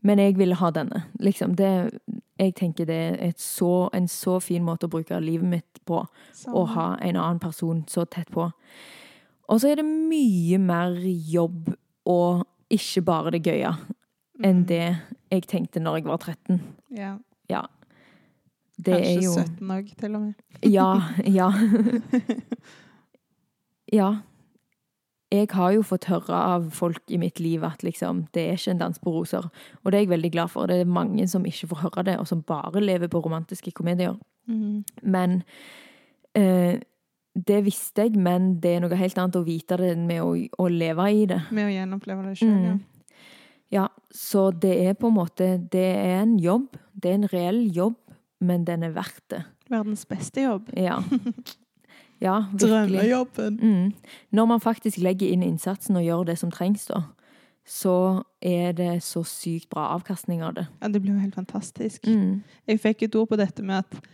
Speaker 2: Men jeg ville ha denne. Liksom, det, jeg tenker det er et så, en så fin måte å bruke livet mitt på å
Speaker 1: Samme.
Speaker 2: ha en annen person så tett på. Og så er det mye mer jobb og ikke bare det gøye enn det jeg tenkte når jeg var 13.
Speaker 1: Ja.
Speaker 2: Ja. Det
Speaker 1: Kanskje
Speaker 2: er jo
Speaker 1: 17 òg, til og med.
Speaker 2: Ja. Ja. ja. Jeg har jo fått høre av folk i mitt liv at liksom, det er ikke en dans på roser. Og det er jeg veldig glad for. Det er mange som ikke får høre det, og som bare lever på romantiske komedier.
Speaker 1: Mm.
Speaker 2: Men eh, Det visste jeg, men det er noe helt annet å vite det enn med å, å leve i det.
Speaker 1: Med å gjenoppleve det sjøl, ja.
Speaker 2: Mm. Ja, Så det er på en måte Det er en jobb. Det er en reell jobb, men den er verdt det.
Speaker 1: Verdens beste jobb.
Speaker 2: Ja. ja virkelig.
Speaker 1: Drømmejobben.
Speaker 2: Mm. Når man faktisk legger inn innsatsen og gjør det som trengs, da, så er det så sykt bra avkastning av det.
Speaker 1: Ja, det blir jo helt fantastisk.
Speaker 2: Mm.
Speaker 1: Jeg fikk et ord på dette med at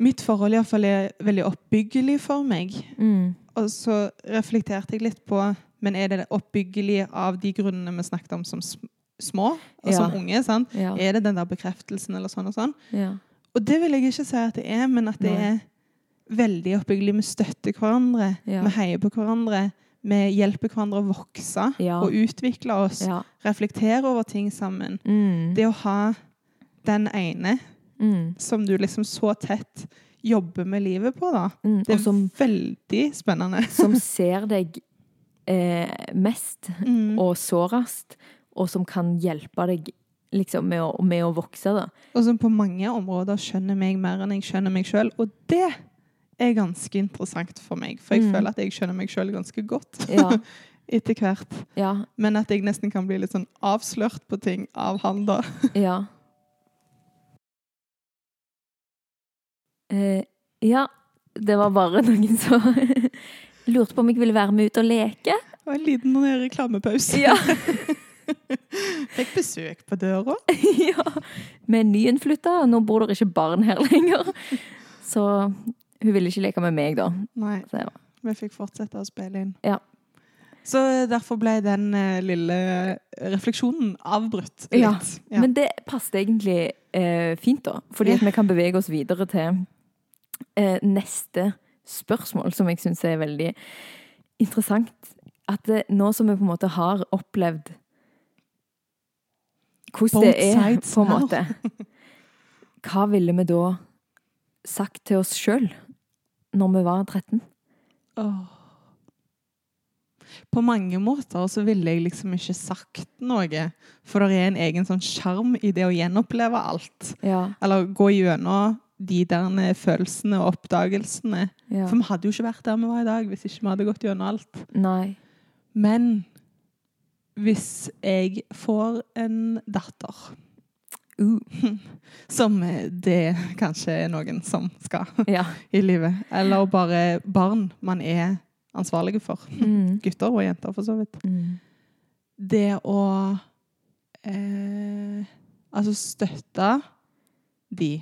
Speaker 1: mitt forhold iallfall er veldig oppbyggelig for meg.
Speaker 2: Mm.
Speaker 1: Og så reflekterte jeg litt på Men er det oppbyggelig av de grunnene vi snakket om som sm- små og som
Speaker 2: Ja.
Speaker 1: unge? sant?
Speaker 2: Ja.
Speaker 1: Er det den der bekreftelsen eller sånn og sånn?
Speaker 2: ja.
Speaker 1: Og det vil jeg ikke si at det er, men at det
Speaker 2: Nei.
Speaker 1: er veldig oppbyggelig. Vi støtter hverandre,
Speaker 2: Ja.
Speaker 1: vi heier på hverandre. Vi hjelper hverandre å vokse
Speaker 2: Ja.
Speaker 1: og utvikle oss.
Speaker 2: ja.
Speaker 1: Reflektere over ting sammen.
Speaker 2: Mm.
Speaker 1: Det å ha den ene
Speaker 2: Mm.
Speaker 1: som du liksom så tett jobber med livet på, da.
Speaker 2: Mm.
Speaker 1: Det
Speaker 2: Og
Speaker 1: er
Speaker 2: som
Speaker 1: veldig spennende.
Speaker 2: som ser deg eh, mest
Speaker 1: Mm.
Speaker 2: og sårest, og som kan hjelpe deg liksom, med, å, med å vokse. Da.
Speaker 1: Og som på mange områder skjønner meg mer enn jeg skjønner meg sjøl. Og det er ganske interessant for meg, for jeg
Speaker 2: Mm.
Speaker 1: føler at jeg skjønner meg sjøl ganske godt
Speaker 2: Ja,
Speaker 1: etter hvert.
Speaker 2: ja,
Speaker 1: Men at jeg nesten kan bli litt sånn avslørt på ting av han, da.
Speaker 2: ja. Eh, ja, det var bare noen som lurte på om jeg ville være med ut og leke.
Speaker 1: Det var en liten eh, reklamepause.
Speaker 2: Ja.
Speaker 1: Fikk besøk på døra.
Speaker 2: ja. Med nyinnflytta, og nå bor det ikke barn her lenger. Så hun ville ikke leke med meg, da.
Speaker 1: Nei,
Speaker 2: Så jeg var-
Speaker 1: vi fikk fortsette å spille inn.
Speaker 2: Ja.
Speaker 1: Så derfor ble den eh, lille refleksjonen avbrutt litt.
Speaker 2: Ja, Men det passet egentlig eh, fint, da. Fordi at vi kan bevege oss videre til eh, neste spørsmål, som jeg syns er veldig interessant. At eh, nå som vi på en måte har opplevd hvordan det
Speaker 1: Both
Speaker 2: er,
Speaker 1: sides
Speaker 2: på en
Speaker 1: now.
Speaker 2: måte Hva ville vi da sagt til oss sjøl når vi var 13?
Speaker 1: Åh. På mange måter så ville jeg liksom ikke sagt noe, for det er en egen sånn sjarm i det å gjenoppleve alt.
Speaker 2: Ja,
Speaker 1: Eller gå gjennom de der følelsene og oppdagelsene.
Speaker 2: ja.
Speaker 1: For vi hadde jo ikke vært der vi var i dag hvis ikke vi hadde gått gjennom alt.
Speaker 2: Nei.
Speaker 1: Men hvis jeg får en datter
Speaker 2: Uh.
Speaker 1: Som det kanskje er noen som skal
Speaker 2: Ja.
Speaker 1: i livet. Eller bare barn man er ansvarlige for.
Speaker 2: Mm.
Speaker 1: Gutter og jenter, for så vidt.
Speaker 2: Mm.
Speaker 1: Det å eh, Altså støtte de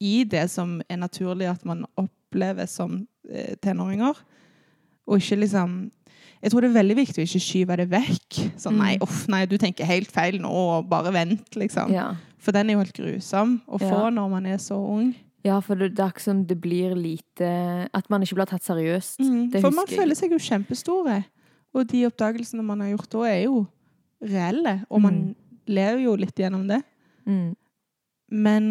Speaker 1: i det som er naturlig at man opplever som eh, tenåringer. Og ikke liksom Jeg tror det er veldig viktig å ikke skyve det vekk. Sånn
Speaker 2: Mm.
Speaker 1: nei, uff, nei, du tenker helt feil nå, og bare vent, liksom.
Speaker 2: ja.
Speaker 1: For den er jo helt grusom å få
Speaker 2: Ja.
Speaker 1: når man er så ung.
Speaker 2: Ja, for det, det er ikke som det blir lite At man ikke blir tatt seriøst. Mm,
Speaker 1: Mm,
Speaker 2: det
Speaker 1: For man
Speaker 2: husker jeg.
Speaker 1: føler seg jo kjempestore. Og de oppdagelsene man har gjort da, er jo reelle. Og man lever jo litt gjennom det.
Speaker 2: Mm.
Speaker 1: Men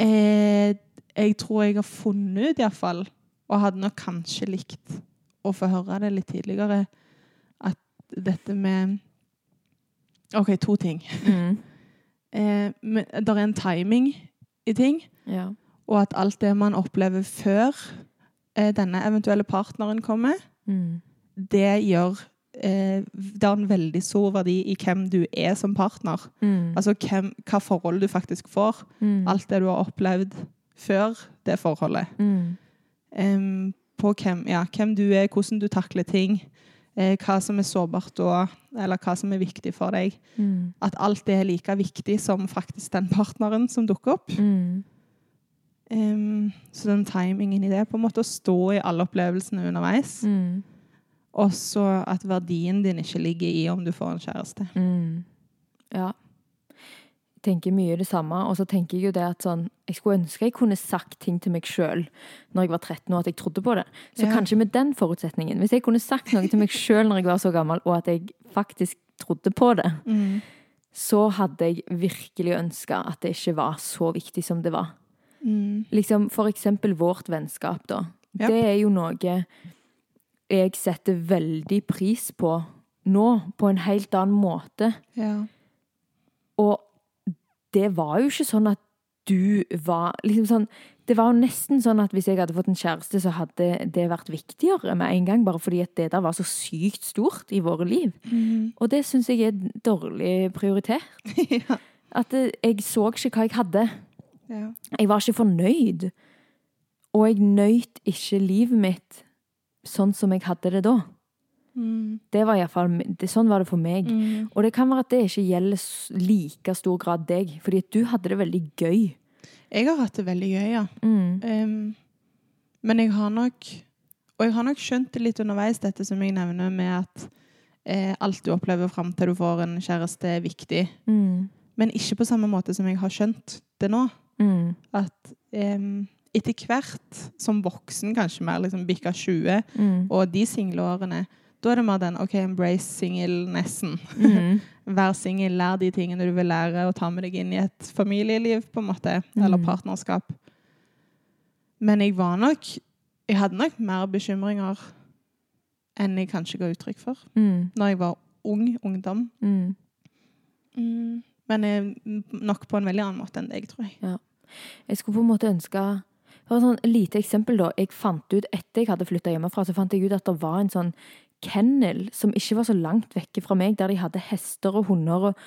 Speaker 1: eh, jeg tror jeg har funnet ut iallfall, og hadde nok kanskje likt å få høre det litt tidligere, at dette med OK, to ting.
Speaker 2: Mm.
Speaker 1: Eh, men der er en timing i ting.
Speaker 2: Ja.
Speaker 1: og at alt det man opplever før eh, denne eventuelle partneren kommer,
Speaker 2: Mm.
Speaker 1: det gjør eh, Det har en veldig stor verdi i hvem du er som partner.
Speaker 2: Mm.
Speaker 1: Altså hvem, hva forhold du faktisk får.
Speaker 2: Mm.
Speaker 1: Alt det du har opplevd før det forholdet.
Speaker 2: Mm.
Speaker 1: Em, på hvem, ja, hvem du er, hvordan du takler ting, eh, hva som er sårbart da, eller hva som er viktig for deg.
Speaker 2: Mm.
Speaker 1: At alt det er like viktig som faktisk den partneren som dukker opp.
Speaker 2: Mm.
Speaker 1: Ehm, så den timingen i det, på en måte å stå i alle opplevelsene underveis.
Speaker 2: Mm.
Speaker 1: Og så at verdien din ikke ligger i om du får en kjæreste.
Speaker 2: Mm. Ja. Jeg tenker mye det samme, og så tenker jeg jo det at sånn Jeg skulle ønske jeg kunne sagt ting til meg sjøl når jeg var 13 og at jeg trodde på det. Så
Speaker 1: Ja.
Speaker 2: kanskje med den forutsetningen. Hvis jeg kunne sagt noe til meg sjøl når jeg var så gammel, og at jeg faktisk trodde på det,
Speaker 1: Mm.
Speaker 2: så hadde jeg virkelig ønska at det ikke var så viktig som det var. Liksom, for eksempel vårt vennskap, da.
Speaker 1: Mm. Ja.
Speaker 2: Det er jo noe jeg setter veldig pris på nå, på en helt annen måte.
Speaker 1: Ja.
Speaker 2: Og det var jo ikke sånn at du var liksom sånn, Det var jo nesten sånn at hvis jeg hadde fått en kjæreste, så hadde det vært viktigere med en gang, bare fordi at det der var så sykt stort i våre liv.
Speaker 1: Mm.
Speaker 2: Og det syns jeg er dårlig prioritert.
Speaker 1: ja.
Speaker 2: At eh, jeg så ikke hva jeg hadde. Jeg var ikke fornøyd. Og jeg nøyt ikke livet mitt sånn som jeg hadde det da.
Speaker 1: Mm.
Speaker 2: Det var i hvert fall, det, sånn var det for meg. Og det kan være at det ikke gjelder s- like stor grad deg, fordi at du hadde det veldig gøy.
Speaker 1: Jeg har hatt det veldig gøy, ja.
Speaker 2: Mm.
Speaker 1: Ehm, men jeg har nok Og jeg har nok skjønt det litt underveis, dette som jeg nevner med at eh, alt du opplever fram til du får en kjæreste, er viktig.
Speaker 2: Mm.
Speaker 1: Men ikke på samme måte som jeg har skjønt det nå.
Speaker 2: Mm.
Speaker 1: at em, etter hvert som voksen, kanskje mer liksom bikka 20,
Speaker 2: Mm.
Speaker 1: og de singleårene, da er det mer den OK, embrace singlenessen.
Speaker 2: Mm.
Speaker 1: Vær singel, lær de tingene du vil lære, og ta med deg inn i et familieliv, på en måte. Eller
Speaker 2: Mm.
Speaker 1: partnerskap. Men jeg var nok Jeg hadde nok mer bekymringer enn jeg kanskje ga uttrykk for
Speaker 2: Mm.
Speaker 1: når jeg var ung ungdom.
Speaker 2: Mm.
Speaker 1: Men eh, nok på en veldig annen måte enn deg, tror jeg.
Speaker 2: Jeg skulle på en måte ønske Bare sånn lite eksempel, da. Jeg fant ut etter jeg hadde flytta hjemmefra, så fant jeg ut at det var en sånn kennel som ikke var så langt vekke fra meg, der de hadde hester og hunder og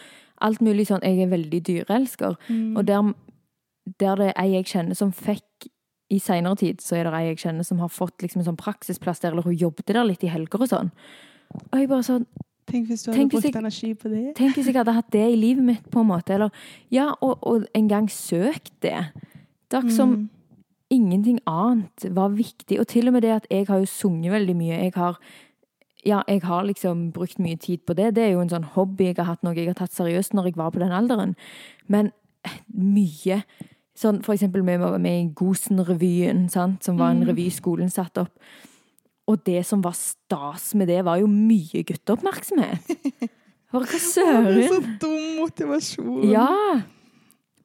Speaker 2: alt mulig sånn. Jeg er veldig dyreelsker. Og der der det er ei jeg kjenner som fikk i seinere tid, så er det ei jeg kjenner som har fått liksom en sånn praksisplass der, eller hun jobbet der litt i helger og sånn. Og jeg bare sånn
Speaker 1: Tenk hvis du hadde
Speaker 2: Tenk hvis
Speaker 1: brukt
Speaker 2: jeg-
Speaker 1: energi på det.
Speaker 2: Tenk hvis jeg hadde hatt det i livet mitt, på en måte. Eller ja, og, og en gang søkt det. Det er ikke som
Speaker 1: Mm.
Speaker 2: ingenting annet var viktig. Og til og med det at jeg har jo sunget veldig mye. Jeg har, ja, jeg har liksom brukt mye tid på det. Det er jo en sånn hobby jeg har hatt, noe jeg har tatt seriøst når jeg var på den alderen. Men eh, mye sånn For eksempel vi var med i Gosen-revyen, sant, som var
Speaker 1: Mm.
Speaker 2: en revy skolen satte opp. Og det som var stas med det, var jo mye gutteoppmerksomhet. Bare hva
Speaker 1: Det er
Speaker 2: søren?
Speaker 1: så dum motivasjon.
Speaker 2: Ja!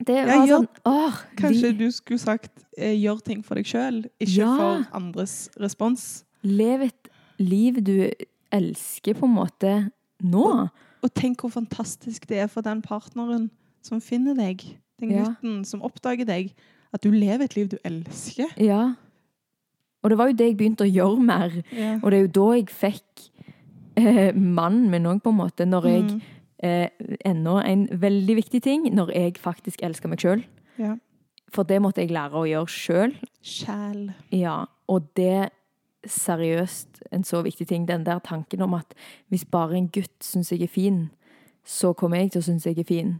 Speaker 2: Det var
Speaker 1: gjør-
Speaker 2: sånn Åh!
Speaker 1: Kanskje du skulle sagt eh, 'gjør ting for deg sjøl', ikke
Speaker 2: Ja.
Speaker 1: for andres respons.
Speaker 2: Lev et liv du elsker, på en måte, nå.
Speaker 1: Og tenk hvor fantastisk det er for den partneren som finner deg, den
Speaker 2: Ja.
Speaker 1: gutten som oppdager deg, at du lever et liv du elsker.
Speaker 2: Ja. Og det var jo det jeg begynte å gjøre mer.
Speaker 1: Mm,
Speaker 2: Og det er jo da jeg fikk eh, mannen min òg, på en måte. Når jeg
Speaker 1: Mm.
Speaker 2: eh, Enda en veldig viktig ting. Når jeg faktisk elsker meg sjøl.
Speaker 1: Ja.
Speaker 2: For det måtte jeg lære å gjøre sjøl.
Speaker 1: Sjæl.
Speaker 2: Ja. Og det seriøst en så viktig ting. Den der tanken om at hvis bare en gutt syns jeg er fin, så kommer jeg til å synes jeg er fin.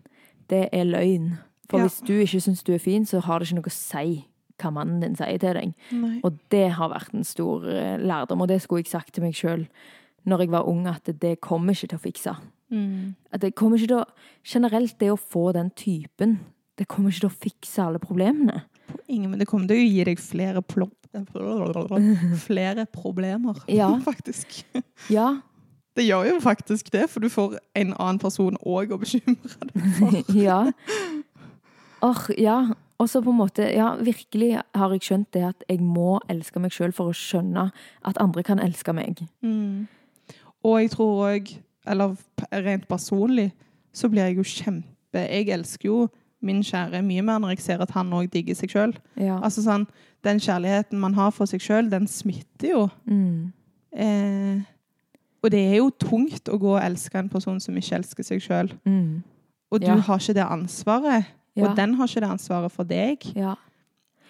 Speaker 2: Det er løgn. For
Speaker 1: Ja.
Speaker 2: hvis du ikke syns du er fin, så har det ikke noe å si hva mannen din sier til deg.
Speaker 1: Nei.
Speaker 2: Og det har vært en stor eh, lærdom, og det skulle jeg sagt til meg sjøl når jeg var ung, at det kommer ikke til å fikse.
Speaker 1: Mm.
Speaker 2: At det kommer ikke til å Generelt, det å få den typen, det kommer ikke til å fikse alle problemene.
Speaker 1: På ingen, men det kommer til å gi deg flere plopp Flere problemer,
Speaker 2: Ja.
Speaker 1: faktisk.
Speaker 2: Ja.
Speaker 1: Det gjør jo faktisk det, for du får en annen person òg å bekymre deg for.
Speaker 2: ja. Or, ja. Og så på en måte, ja, virkelig har jeg skjønt det at jeg må elske meg sjøl for å skjønne at andre kan elske meg.
Speaker 1: Mm. Og jeg tror òg, eller p- rent personlig, så blir jeg jo kjempe Jeg elsker jo min kjære mye mer når jeg ser at han òg digger seg sjøl.
Speaker 2: Ja.
Speaker 1: Altså sånn, den kjærligheten man har for seg sjøl, den smitter jo.
Speaker 2: Mm.
Speaker 1: Eh, og det er jo tungt å gå og elske en person som ikke elsker seg sjøl.
Speaker 2: Mm.
Speaker 1: Og du
Speaker 2: Ja.
Speaker 1: har ikke det ansvaret.
Speaker 2: Ja.
Speaker 1: Og den har ikke det ansvaret for deg.
Speaker 2: ja.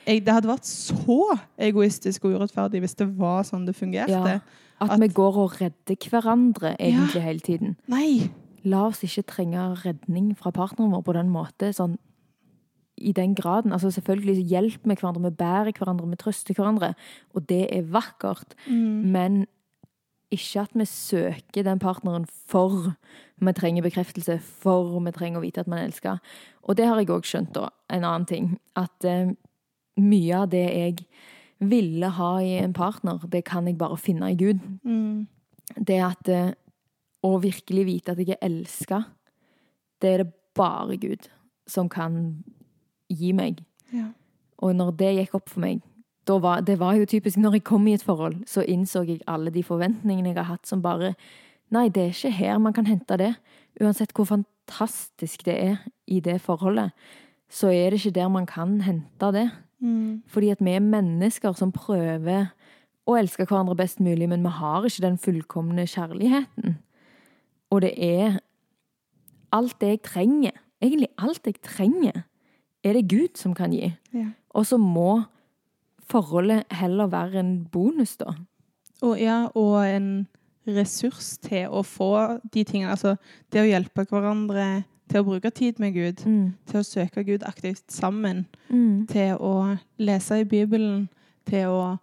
Speaker 1: Jeg, det hadde vært så egoistisk og urettferdig hvis det var sånn det fungerte.
Speaker 2: Ja. At, vi går og redder hverandre egentlig hele tiden.
Speaker 1: Nei!
Speaker 2: La oss ikke trenge redning fra partneren vår på den måte, sånn i den graden. Altså selvfølgelig hjelper vi hverandre, vi bærer hverandre, vi trøster hverandre, og det er vakkert. Men ikke at vi søker den partneren for vi trenger bekreftelse, for vi trenger å vite at man elsker. Og det har jeg òg skjønt, da. En annen ting. At eh, mye av det jeg ville ha i en partner, det kan jeg bare finne i Gud
Speaker 1: Mm.
Speaker 2: det at eh, Å virkelig vite at jeg er elska, det er det bare Gud som kan gi meg.
Speaker 1: Ja.
Speaker 2: Og når det gikk opp for meg da var, Det var jo typisk når jeg kom i et forhold, så innså jeg alle de forventningene jeg har hatt, som bare Nei, det er ikke her man kan hente det. Uansett hvor fantastisk det er i det forholdet, så er det ikke der man kan hente det. Fordi at vi er mennesker som prøver å elske hverandre best mulig, men vi har ikke den fullkomne kjærligheten. Og det er alt det jeg trenger, egentlig alt jeg trenger, er det Gud som kan gi.
Speaker 1: Ja.
Speaker 2: Og så må forholdet heller være en bonus, da.
Speaker 1: Og, ja, og en ressurs til å få de tingene. Altså det å hjelpe hverandre til å bruke tid med Gud,
Speaker 2: Mm.
Speaker 1: til å søke Gud aktivt sammen, til å lese i Bibelen, til å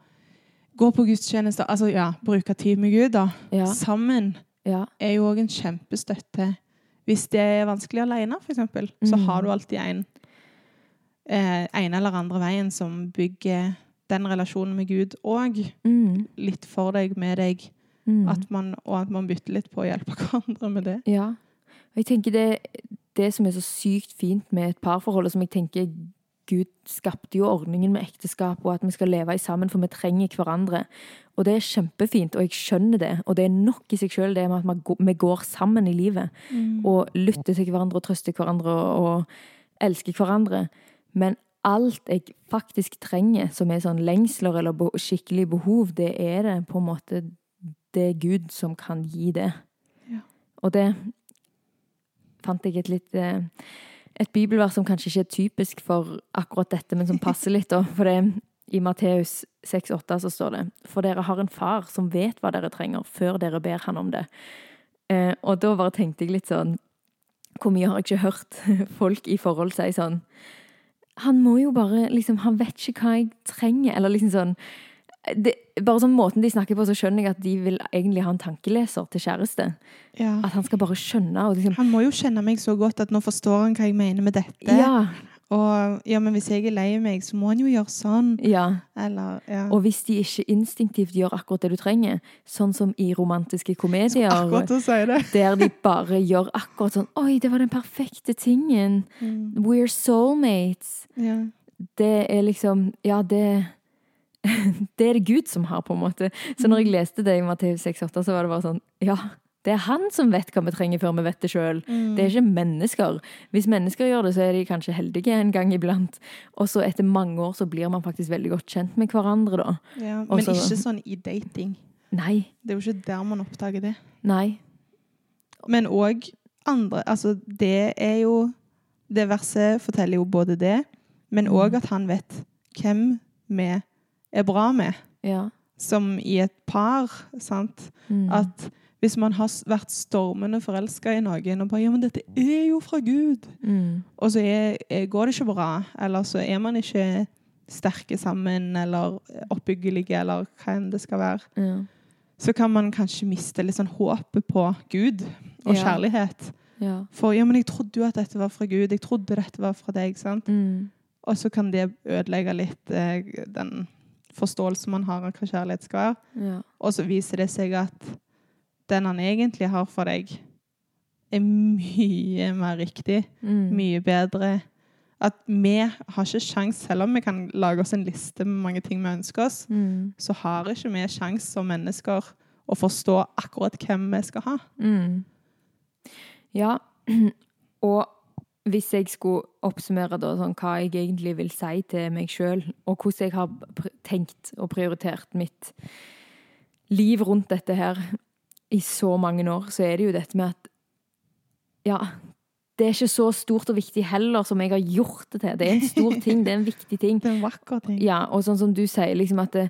Speaker 1: gå på gudstjenester Altså ja, bruke tid med Gud, da.
Speaker 2: Ja.
Speaker 1: Sammen.
Speaker 2: Ja.
Speaker 1: er jo òg en kjempestøtte. Hvis det er vanskelig alene, for eksempel, så har du alltid en eh, ene eller andre veien som bygger den relasjonen med Gud og
Speaker 2: Mm.
Speaker 1: litt for deg, med deg,
Speaker 2: Mm.
Speaker 1: at man, og at man bytter litt på å hjelpe hverandre med det.
Speaker 2: Ja. Og jeg tenker det, det som er så sykt fint med et parforhold, og som jeg tenker Gud skapte jo ordningen med ekteskap, og at vi skal leve i sammen, for vi trenger hverandre. Og det er kjempefint, og jeg skjønner det. Og det er nok i seg sjøl, det med at man gå- vi går sammen i livet. Og lytter til hverandre, og trøster hverandre, og, og elsker hverandre. Men alt jeg faktisk trenger, som er sånn lengsler eller be skikkelig behov, det er det på en måte Det er Gud som kan gi det. Og det fant jeg et litt eh, et bibelvers som kanskje ikke er typisk for akkurat dette, men som passer litt. Da, for det, I Matteus 6,8 så står det For dere har en far som vet hva dere trenger, før dere ber han om det. Eh, og da bare tenkte jeg litt sånn Hvor mye har jeg ikke hørt folk i forhold si sånn Han må jo bare liksom Han vet ikke hva jeg trenger. Eller liksom sånn det, Bare sånn måten de snakker på, så skjønner jeg at de vil egentlig ha en tankeleser til kjæreste.
Speaker 1: Ja.
Speaker 2: At han skal bare skjønne. Og liksom,
Speaker 1: Han må jo kjenne meg så godt at nå forstår han hva jeg mener med dette.
Speaker 2: ja,
Speaker 1: Og ja, men hvis jeg er lei meg, så må han jo gjøre sånn.
Speaker 2: ja.
Speaker 1: Eller ja.
Speaker 2: Og hvis de ikke instinktivt gjør akkurat det du trenger, sånn som i romantiske komedier,
Speaker 1: Akkurat å si det.
Speaker 2: der de bare gjør akkurat sånn Oi, det var den perfekte tingen!
Speaker 1: Mm.
Speaker 2: We're soulmates!
Speaker 1: Ja.
Speaker 2: Det er liksom Ja, det Det er det Gud som har, på en måte. Så når jeg leste det i Matteus 6,8, så var det bare sånn Ja, det er han som vet hva vi trenger før vi vet det sjøl. Det er ikke mennesker. Hvis mennesker gjør det, så er de kanskje heldige en gang iblant. Og så etter mange år så blir man faktisk veldig godt kjent med hverandre, da.
Speaker 1: Ja, Men
Speaker 2: Og så-
Speaker 1: ikke sånn i dating.
Speaker 2: Nei.
Speaker 1: Det er jo ikke der man oppdager det.
Speaker 2: Nei.
Speaker 1: Men òg andre Altså, det er jo Det verset forteller jo både det,
Speaker 2: Mm.
Speaker 1: men òg at han vet hvem vi er bra med.
Speaker 2: Ja.
Speaker 1: Som i et par, sant?
Speaker 2: Mm.
Speaker 1: At hvis man har s- vært stormende forelska i noen og bare Ja, men dette er jo fra Gud!
Speaker 2: Mm.
Speaker 1: Og så er, er, går det ikke bra. Eller så er man ikke sterke sammen, eller eh, oppbyggelige, eller hva enn det skal være.
Speaker 2: Ja.
Speaker 1: Så kan man kanskje miste litt sånn håpet på Gud og
Speaker 2: Ja.
Speaker 1: kjærlighet.
Speaker 2: ja.
Speaker 1: For ja, men jeg trodde jo at dette var fra Gud. Jeg trodde dette var fra deg. sant?
Speaker 2: Mm.
Speaker 1: Og så kan det ødelegge litt eh, den forståelsen man har av hva kjærlighet skal være.
Speaker 2: ja.
Speaker 1: Og så viser det seg at den han egentlig har for deg, er mye mer riktig,
Speaker 2: Mm.
Speaker 1: mye bedre. At vi har ikke sjans, selv om vi kan lage oss en liste med mange ting vi ønsker oss,
Speaker 2: Mm.
Speaker 1: så har ikke vi sjans som mennesker å forstå akkurat hvem vi skal ha.
Speaker 2: Mm. Ja. Og hvis jeg skulle oppsummere da, sånn, hva jeg egentlig vil si til meg sjøl, og hvordan jeg har pr tenkt og prioritert mitt liv rundt dette her i så mange år, så er det jo dette med at Ja, det er ikke så stort og viktig heller som jeg har gjort det til. Det er en stor ting, det er en viktig ting.
Speaker 1: Det er en vakker ting.
Speaker 2: Ja, og sånn som du sier, liksom at det,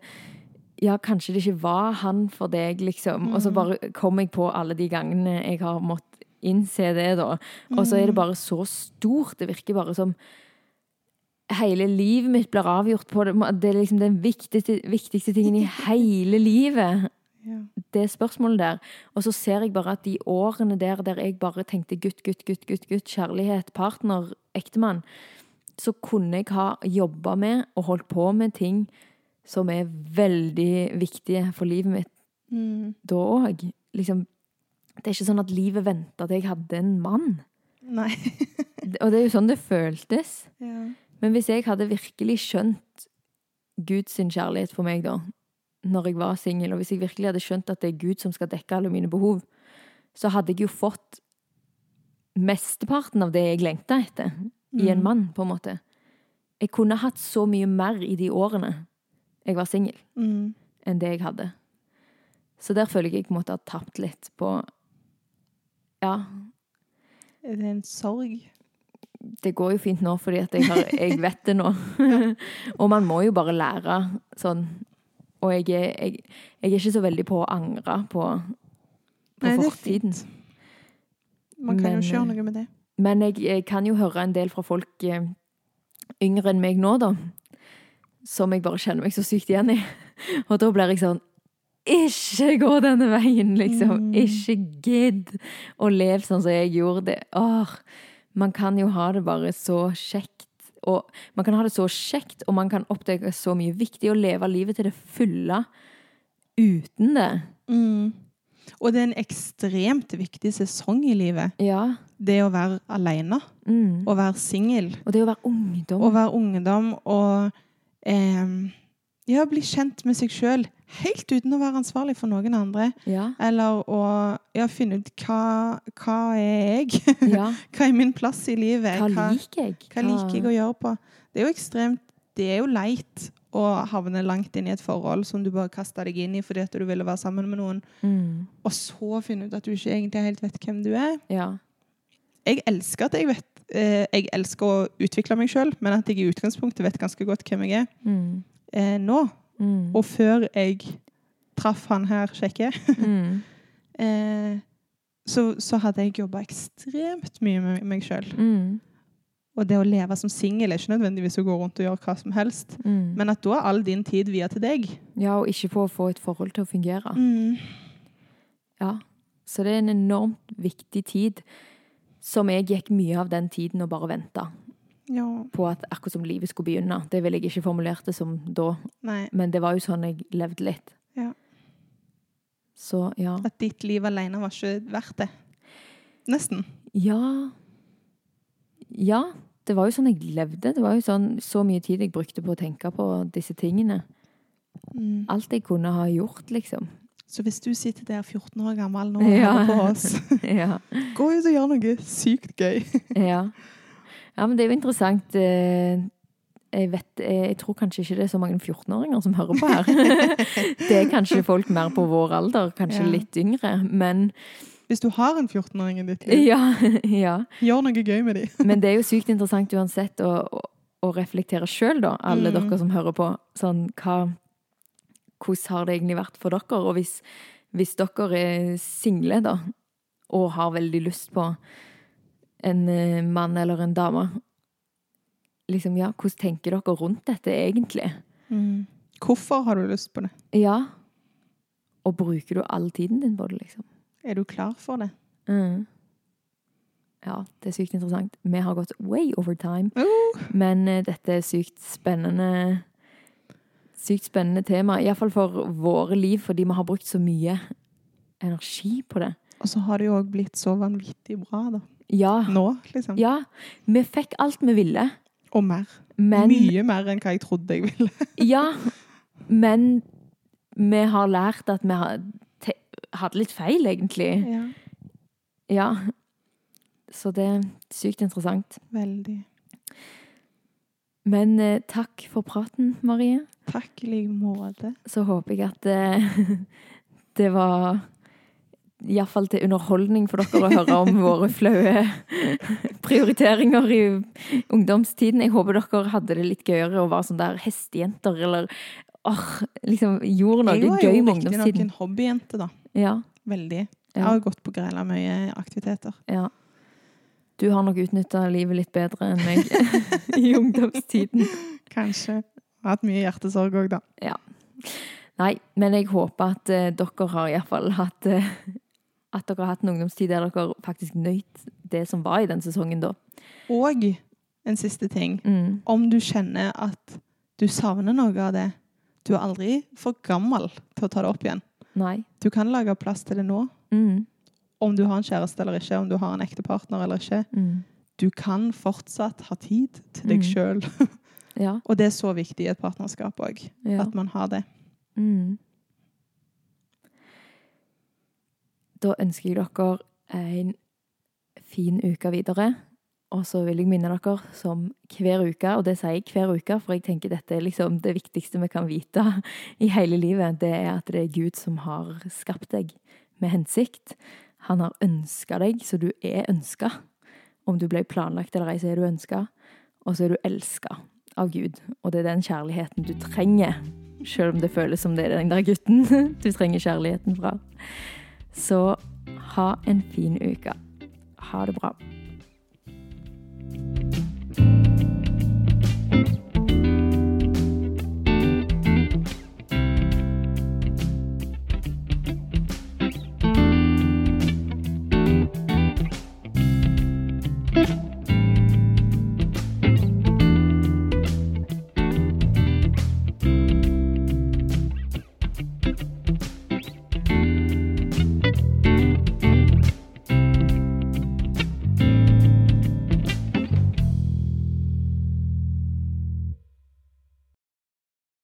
Speaker 2: ja, kanskje det ikke var han for deg, liksom. Og så bare kom jeg på alle de gangene jeg har måttet innse det, da. Og så er det bare så stort. Det virker bare som hele livet mitt blir avgjort på det. Det er liksom den viktigste, viktigste tingen i hele livet
Speaker 1: Ja.
Speaker 2: det spørsmålet der. Og så ser jeg bare at de årene der der jeg bare tenkte gutt, gutt, gutt, gutt, gutt kjærlighet, partner, ektemann, så kunne jeg ha jobba med og holdt på med ting som er veldig viktige for livet mitt
Speaker 1: Mm.
Speaker 2: da òg. Liksom, det er ikke sånn at livet venta til jeg hadde en mann.
Speaker 1: Nei.
Speaker 2: Og det er jo sånn det føltes.
Speaker 1: ja.
Speaker 2: Men hvis jeg hadde virkelig skjønt Guds kjærlighet for meg da, når jeg var singel, og hvis jeg virkelig hadde skjønt at det er Gud som skal dekke alle mine behov, så hadde jeg jo fått mesteparten av det jeg lengta etter, i en mann, på en måte. Jeg kunne hatt så mye mer i de årene jeg var singel,
Speaker 1: Mm.
Speaker 2: enn det jeg hadde. Så der føler jeg jeg måtte ha tapt litt på Ja,
Speaker 1: Det er en sorg.
Speaker 2: det går jo fint nå, fordi at jeg, har, jeg vet det nå. og man må jo bare lære sånn. Og jeg er, jeg, jeg er ikke så veldig på å angre på, på
Speaker 1: Nei, det er
Speaker 2: fortiden.
Speaker 1: Man kan
Speaker 2: Men,
Speaker 1: jo ikke gjøre
Speaker 2: eh,
Speaker 1: noe med det.
Speaker 2: Men jeg, jeg kan jo høre en del fra folk eh, yngre enn meg nå, da. Som jeg bare kjenner meg så sykt igjen i. Og da blir jeg sånn Ikke gå denne veien, liksom! Ikke gidd å leve sånn som jeg gjorde det. Åh, man kan jo ha det bare så kjekt. Og man kan ha det så kjekt, og man kan oppdage så mye viktig å leve livet til det fulle uten det.
Speaker 1: Mm. Og det er en ekstremt viktig sesong i livet.
Speaker 2: Ja.
Speaker 1: Det å være alene,
Speaker 2: Mm.
Speaker 1: å være singel,
Speaker 2: Og det å være ungdom.
Speaker 1: å være ungdom og eh, ja, bli kjent med seg sjøl. Helt uten å være ansvarlig for noen andre.
Speaker 2: Ja.
Speaker 1: Eller å ja, finne ut hva, hva er jeg?
Speaker 2: ja.
Speaker 1: Hva er min plass i livet?
Speaker 2: Hva liker jeg?
Speaker 1: Hva liker jeg å gjøre på? Det er jo ekstremt Det er jo leit å havne langt inn i et forhold som du bare kasta deg inn i fordi at du ville være sammen med noen,
Speaker 2: Mm,
Speaker 1: og så finne ut at du ikke egentlig helt vet hvem du er.
Speaker 2: ja.
Speaker 1: Jeg elsker at jeg vet eh, jeg elsker å utvikle meg sjøl, men at jeg i utgangspunktet vet ganske godt hvem jeg er
Speaker 2: Mm.
Speaker 1: eh, nå.
Speaker 2: Mm.
Speaker 1: Og før jeg traff han her kjekke,
Speaker 2: Mm.
Speaker 1: eh, så, så hadde jeg jobba ekstremt mye med meg sjøl.
Speaker 2: Mm.
Speaker 1: Og det å leve som singel er ikke nødvendigvis å gå rundt og gjøre hva som helst.
Speaker 2: Mm.
Speaker 1: Men at da er all din tid via til deg.
Speaker 2: Ja, og ikke på å få et forhold til å
Speaker 1: Mm.
Speaker 2: fungere. Ja. Så det er en enormt viktig tid, som jeg gikk mye av den tiden og bare venta
Speaker 1: Ja.
Speaker 2: på at akkurat som livet skulle begynne. Det ville jeg ikke formulert det som da,
Speaker 1: Nei.
Speaker 2: men det var jo sånn jeg levde litt.
Speaker 1: Ja.
Speaker 2: Så ja.
Speaker 1: At ditt liv alene var ikke verdt det. Nesten.
Speaker 2: Ja. Ja, det var jo sånn jeg levde. Det var jo sånn, så mye tid jeg brukte på å tenke på disse tingene. Alt jeg kunne ha gjort, liksom.
Speaker 1: Mm. Så hvis du sitter der 14 år gammel nå og
Speaker 2: Ja.
Speaker 1: hører på oss,
Speaker 2: Ja.
Speaker 1: gå ut og gjør noe sykt gøy.
Speaker 2: ja. ja men det er jo interessant. eh, Jeg, vet, eh, jeg tror kanskje ikke det er så mange 14-åringer som hører på her. Det er kanskje folk mer på vår alder, kanskje
Speaker 1: Ja.
Speaker 2: litt yngre. Men
Speaker 1: Hvis du har en 14-åring i ditt liv,
Speaker 2: ja, ja.
Speaker 1: gjør noe gøy med dem.
Speaker 2: Men det er jo sykt interessant uansett å, å, å reflektere sjøl, da, alle dere som hører på. Sånn, hva, hvordan har det egentlig vært for dere? Og hvis, hvis dere er single, da, og har veldig lyst på en eh, mann eller en dame liksom, ja, Hvordan tenker dere rundt dette egentlig?
Speaker 1: Mm. Hvorfor har du lyst på det?
Speaker 2: Ja. Og bruker du all tiden din på det, liksom?
Speaker 1: Er du klar for det?
Speaker 2: Mm. Ja, det er sykt interessant. Vi har gått way over time.
Speaker 1: Oh.
Speaker 2: Men eh, dette er sykt spennende Sykt spennende tema. Iallfall for våre liv, fordi vi har brukt så mye energi på det.
Speaker 1: Og så har det jo òg blitt så vanvittig bra, da.
Speaker 2: Ja.
Speaker 1: Nå, liksom.
Speaker 2: ja vi fikk alt vi ville,
Speaker 1: Og mer.
Speaker 2: men
Speaker 1: Mye mer enn hva jeg trodde jeg ville.
Speaker 2: Ja. Men vi har lært at vi har te- hadde litt feil, egentlig.
Speaker 1: Ja,
Speaker 2: Ja. Så det er sykt interessant.
Speaker 1: veldig.
Speaker 2: Men eh, takk for praten, Marie.
Speaker 1: Takk i like måte.
Speaker 2: så håper jeg at eh, det var Iallfall til underholdning for dere å høre om våre flaue prioriteringer i ungdomstiden. Jeg håper dere hadde det litt gøyere og var sånn der hestejenter eller åh, liksom gjorde noe
Speaker 1: Jeg var jo
Speaker 2: gøy med
Speaker 1: riktignok
Speaker 2: ungdomstiden.
Speaker 1: en hobbyjente, da.
Speaker 2: Ja,
Speaker 1: Veldig. Jeg
Speaker 2: ja,
Speaker 1: har gått på grela mye aktiviteter.
Speaker 2: ja. Du har nok utnytta livet litt bedre enn meg i ungdomstiden.
Speaker 1: Kanskje. Jeg har hatt mye hjertesorg òg, da.
Speaker 2: Nei, men jeg håper at eh, dere har iallfall hatt eh, At dere har hatt en ungdomstid der dere faktisk nøyt det som var i den sesongen da.
Speaker 1: Og en siste ting.
Speaker 2: Mm.
Speaker 1: Om du kjenner at du savner noe av det Du er aldri for gammel til å ta det opp igjen.
Speaker 2: Nei.
Speaker 1: Du kan lage plass til det nå,
Speaker 2: Mm.
Speaker 1: om du har en kjæreste eller ikke, om du har en ekte partner eller ikke.
Speaker 2: Mm.
Speaker 1: Du kan fortsatt ha tid til deg
Speaker 2: Mm.
Speaker 1: sjøl.
Speaker 2: Ja.
Speaker 1: Og det er så viktig i et partnerskap òg,
Speaker 2: ja.
Speaker 1: at man har det.
Speaker 2: Mm. Da ønsker jeg dere en fin uke videre. Og så vil jeg minne dere som hver uke, og det sier jeg hver uke, for jeg tenker dette er liksom det viktigste vi kan vite i hele livet, det er at det er Gud som har skapt deg med hensikt. Han har ønska deg, så du er ønska. Om du ble planlagt eller ei, så er du ønska. Og så er du elska av Gud. Og det er den kjærligheten du trenger, sjøl om det føles som det er den der gutten du trenger kjærligheten fra. Så ha en fin uke. Ha det bra.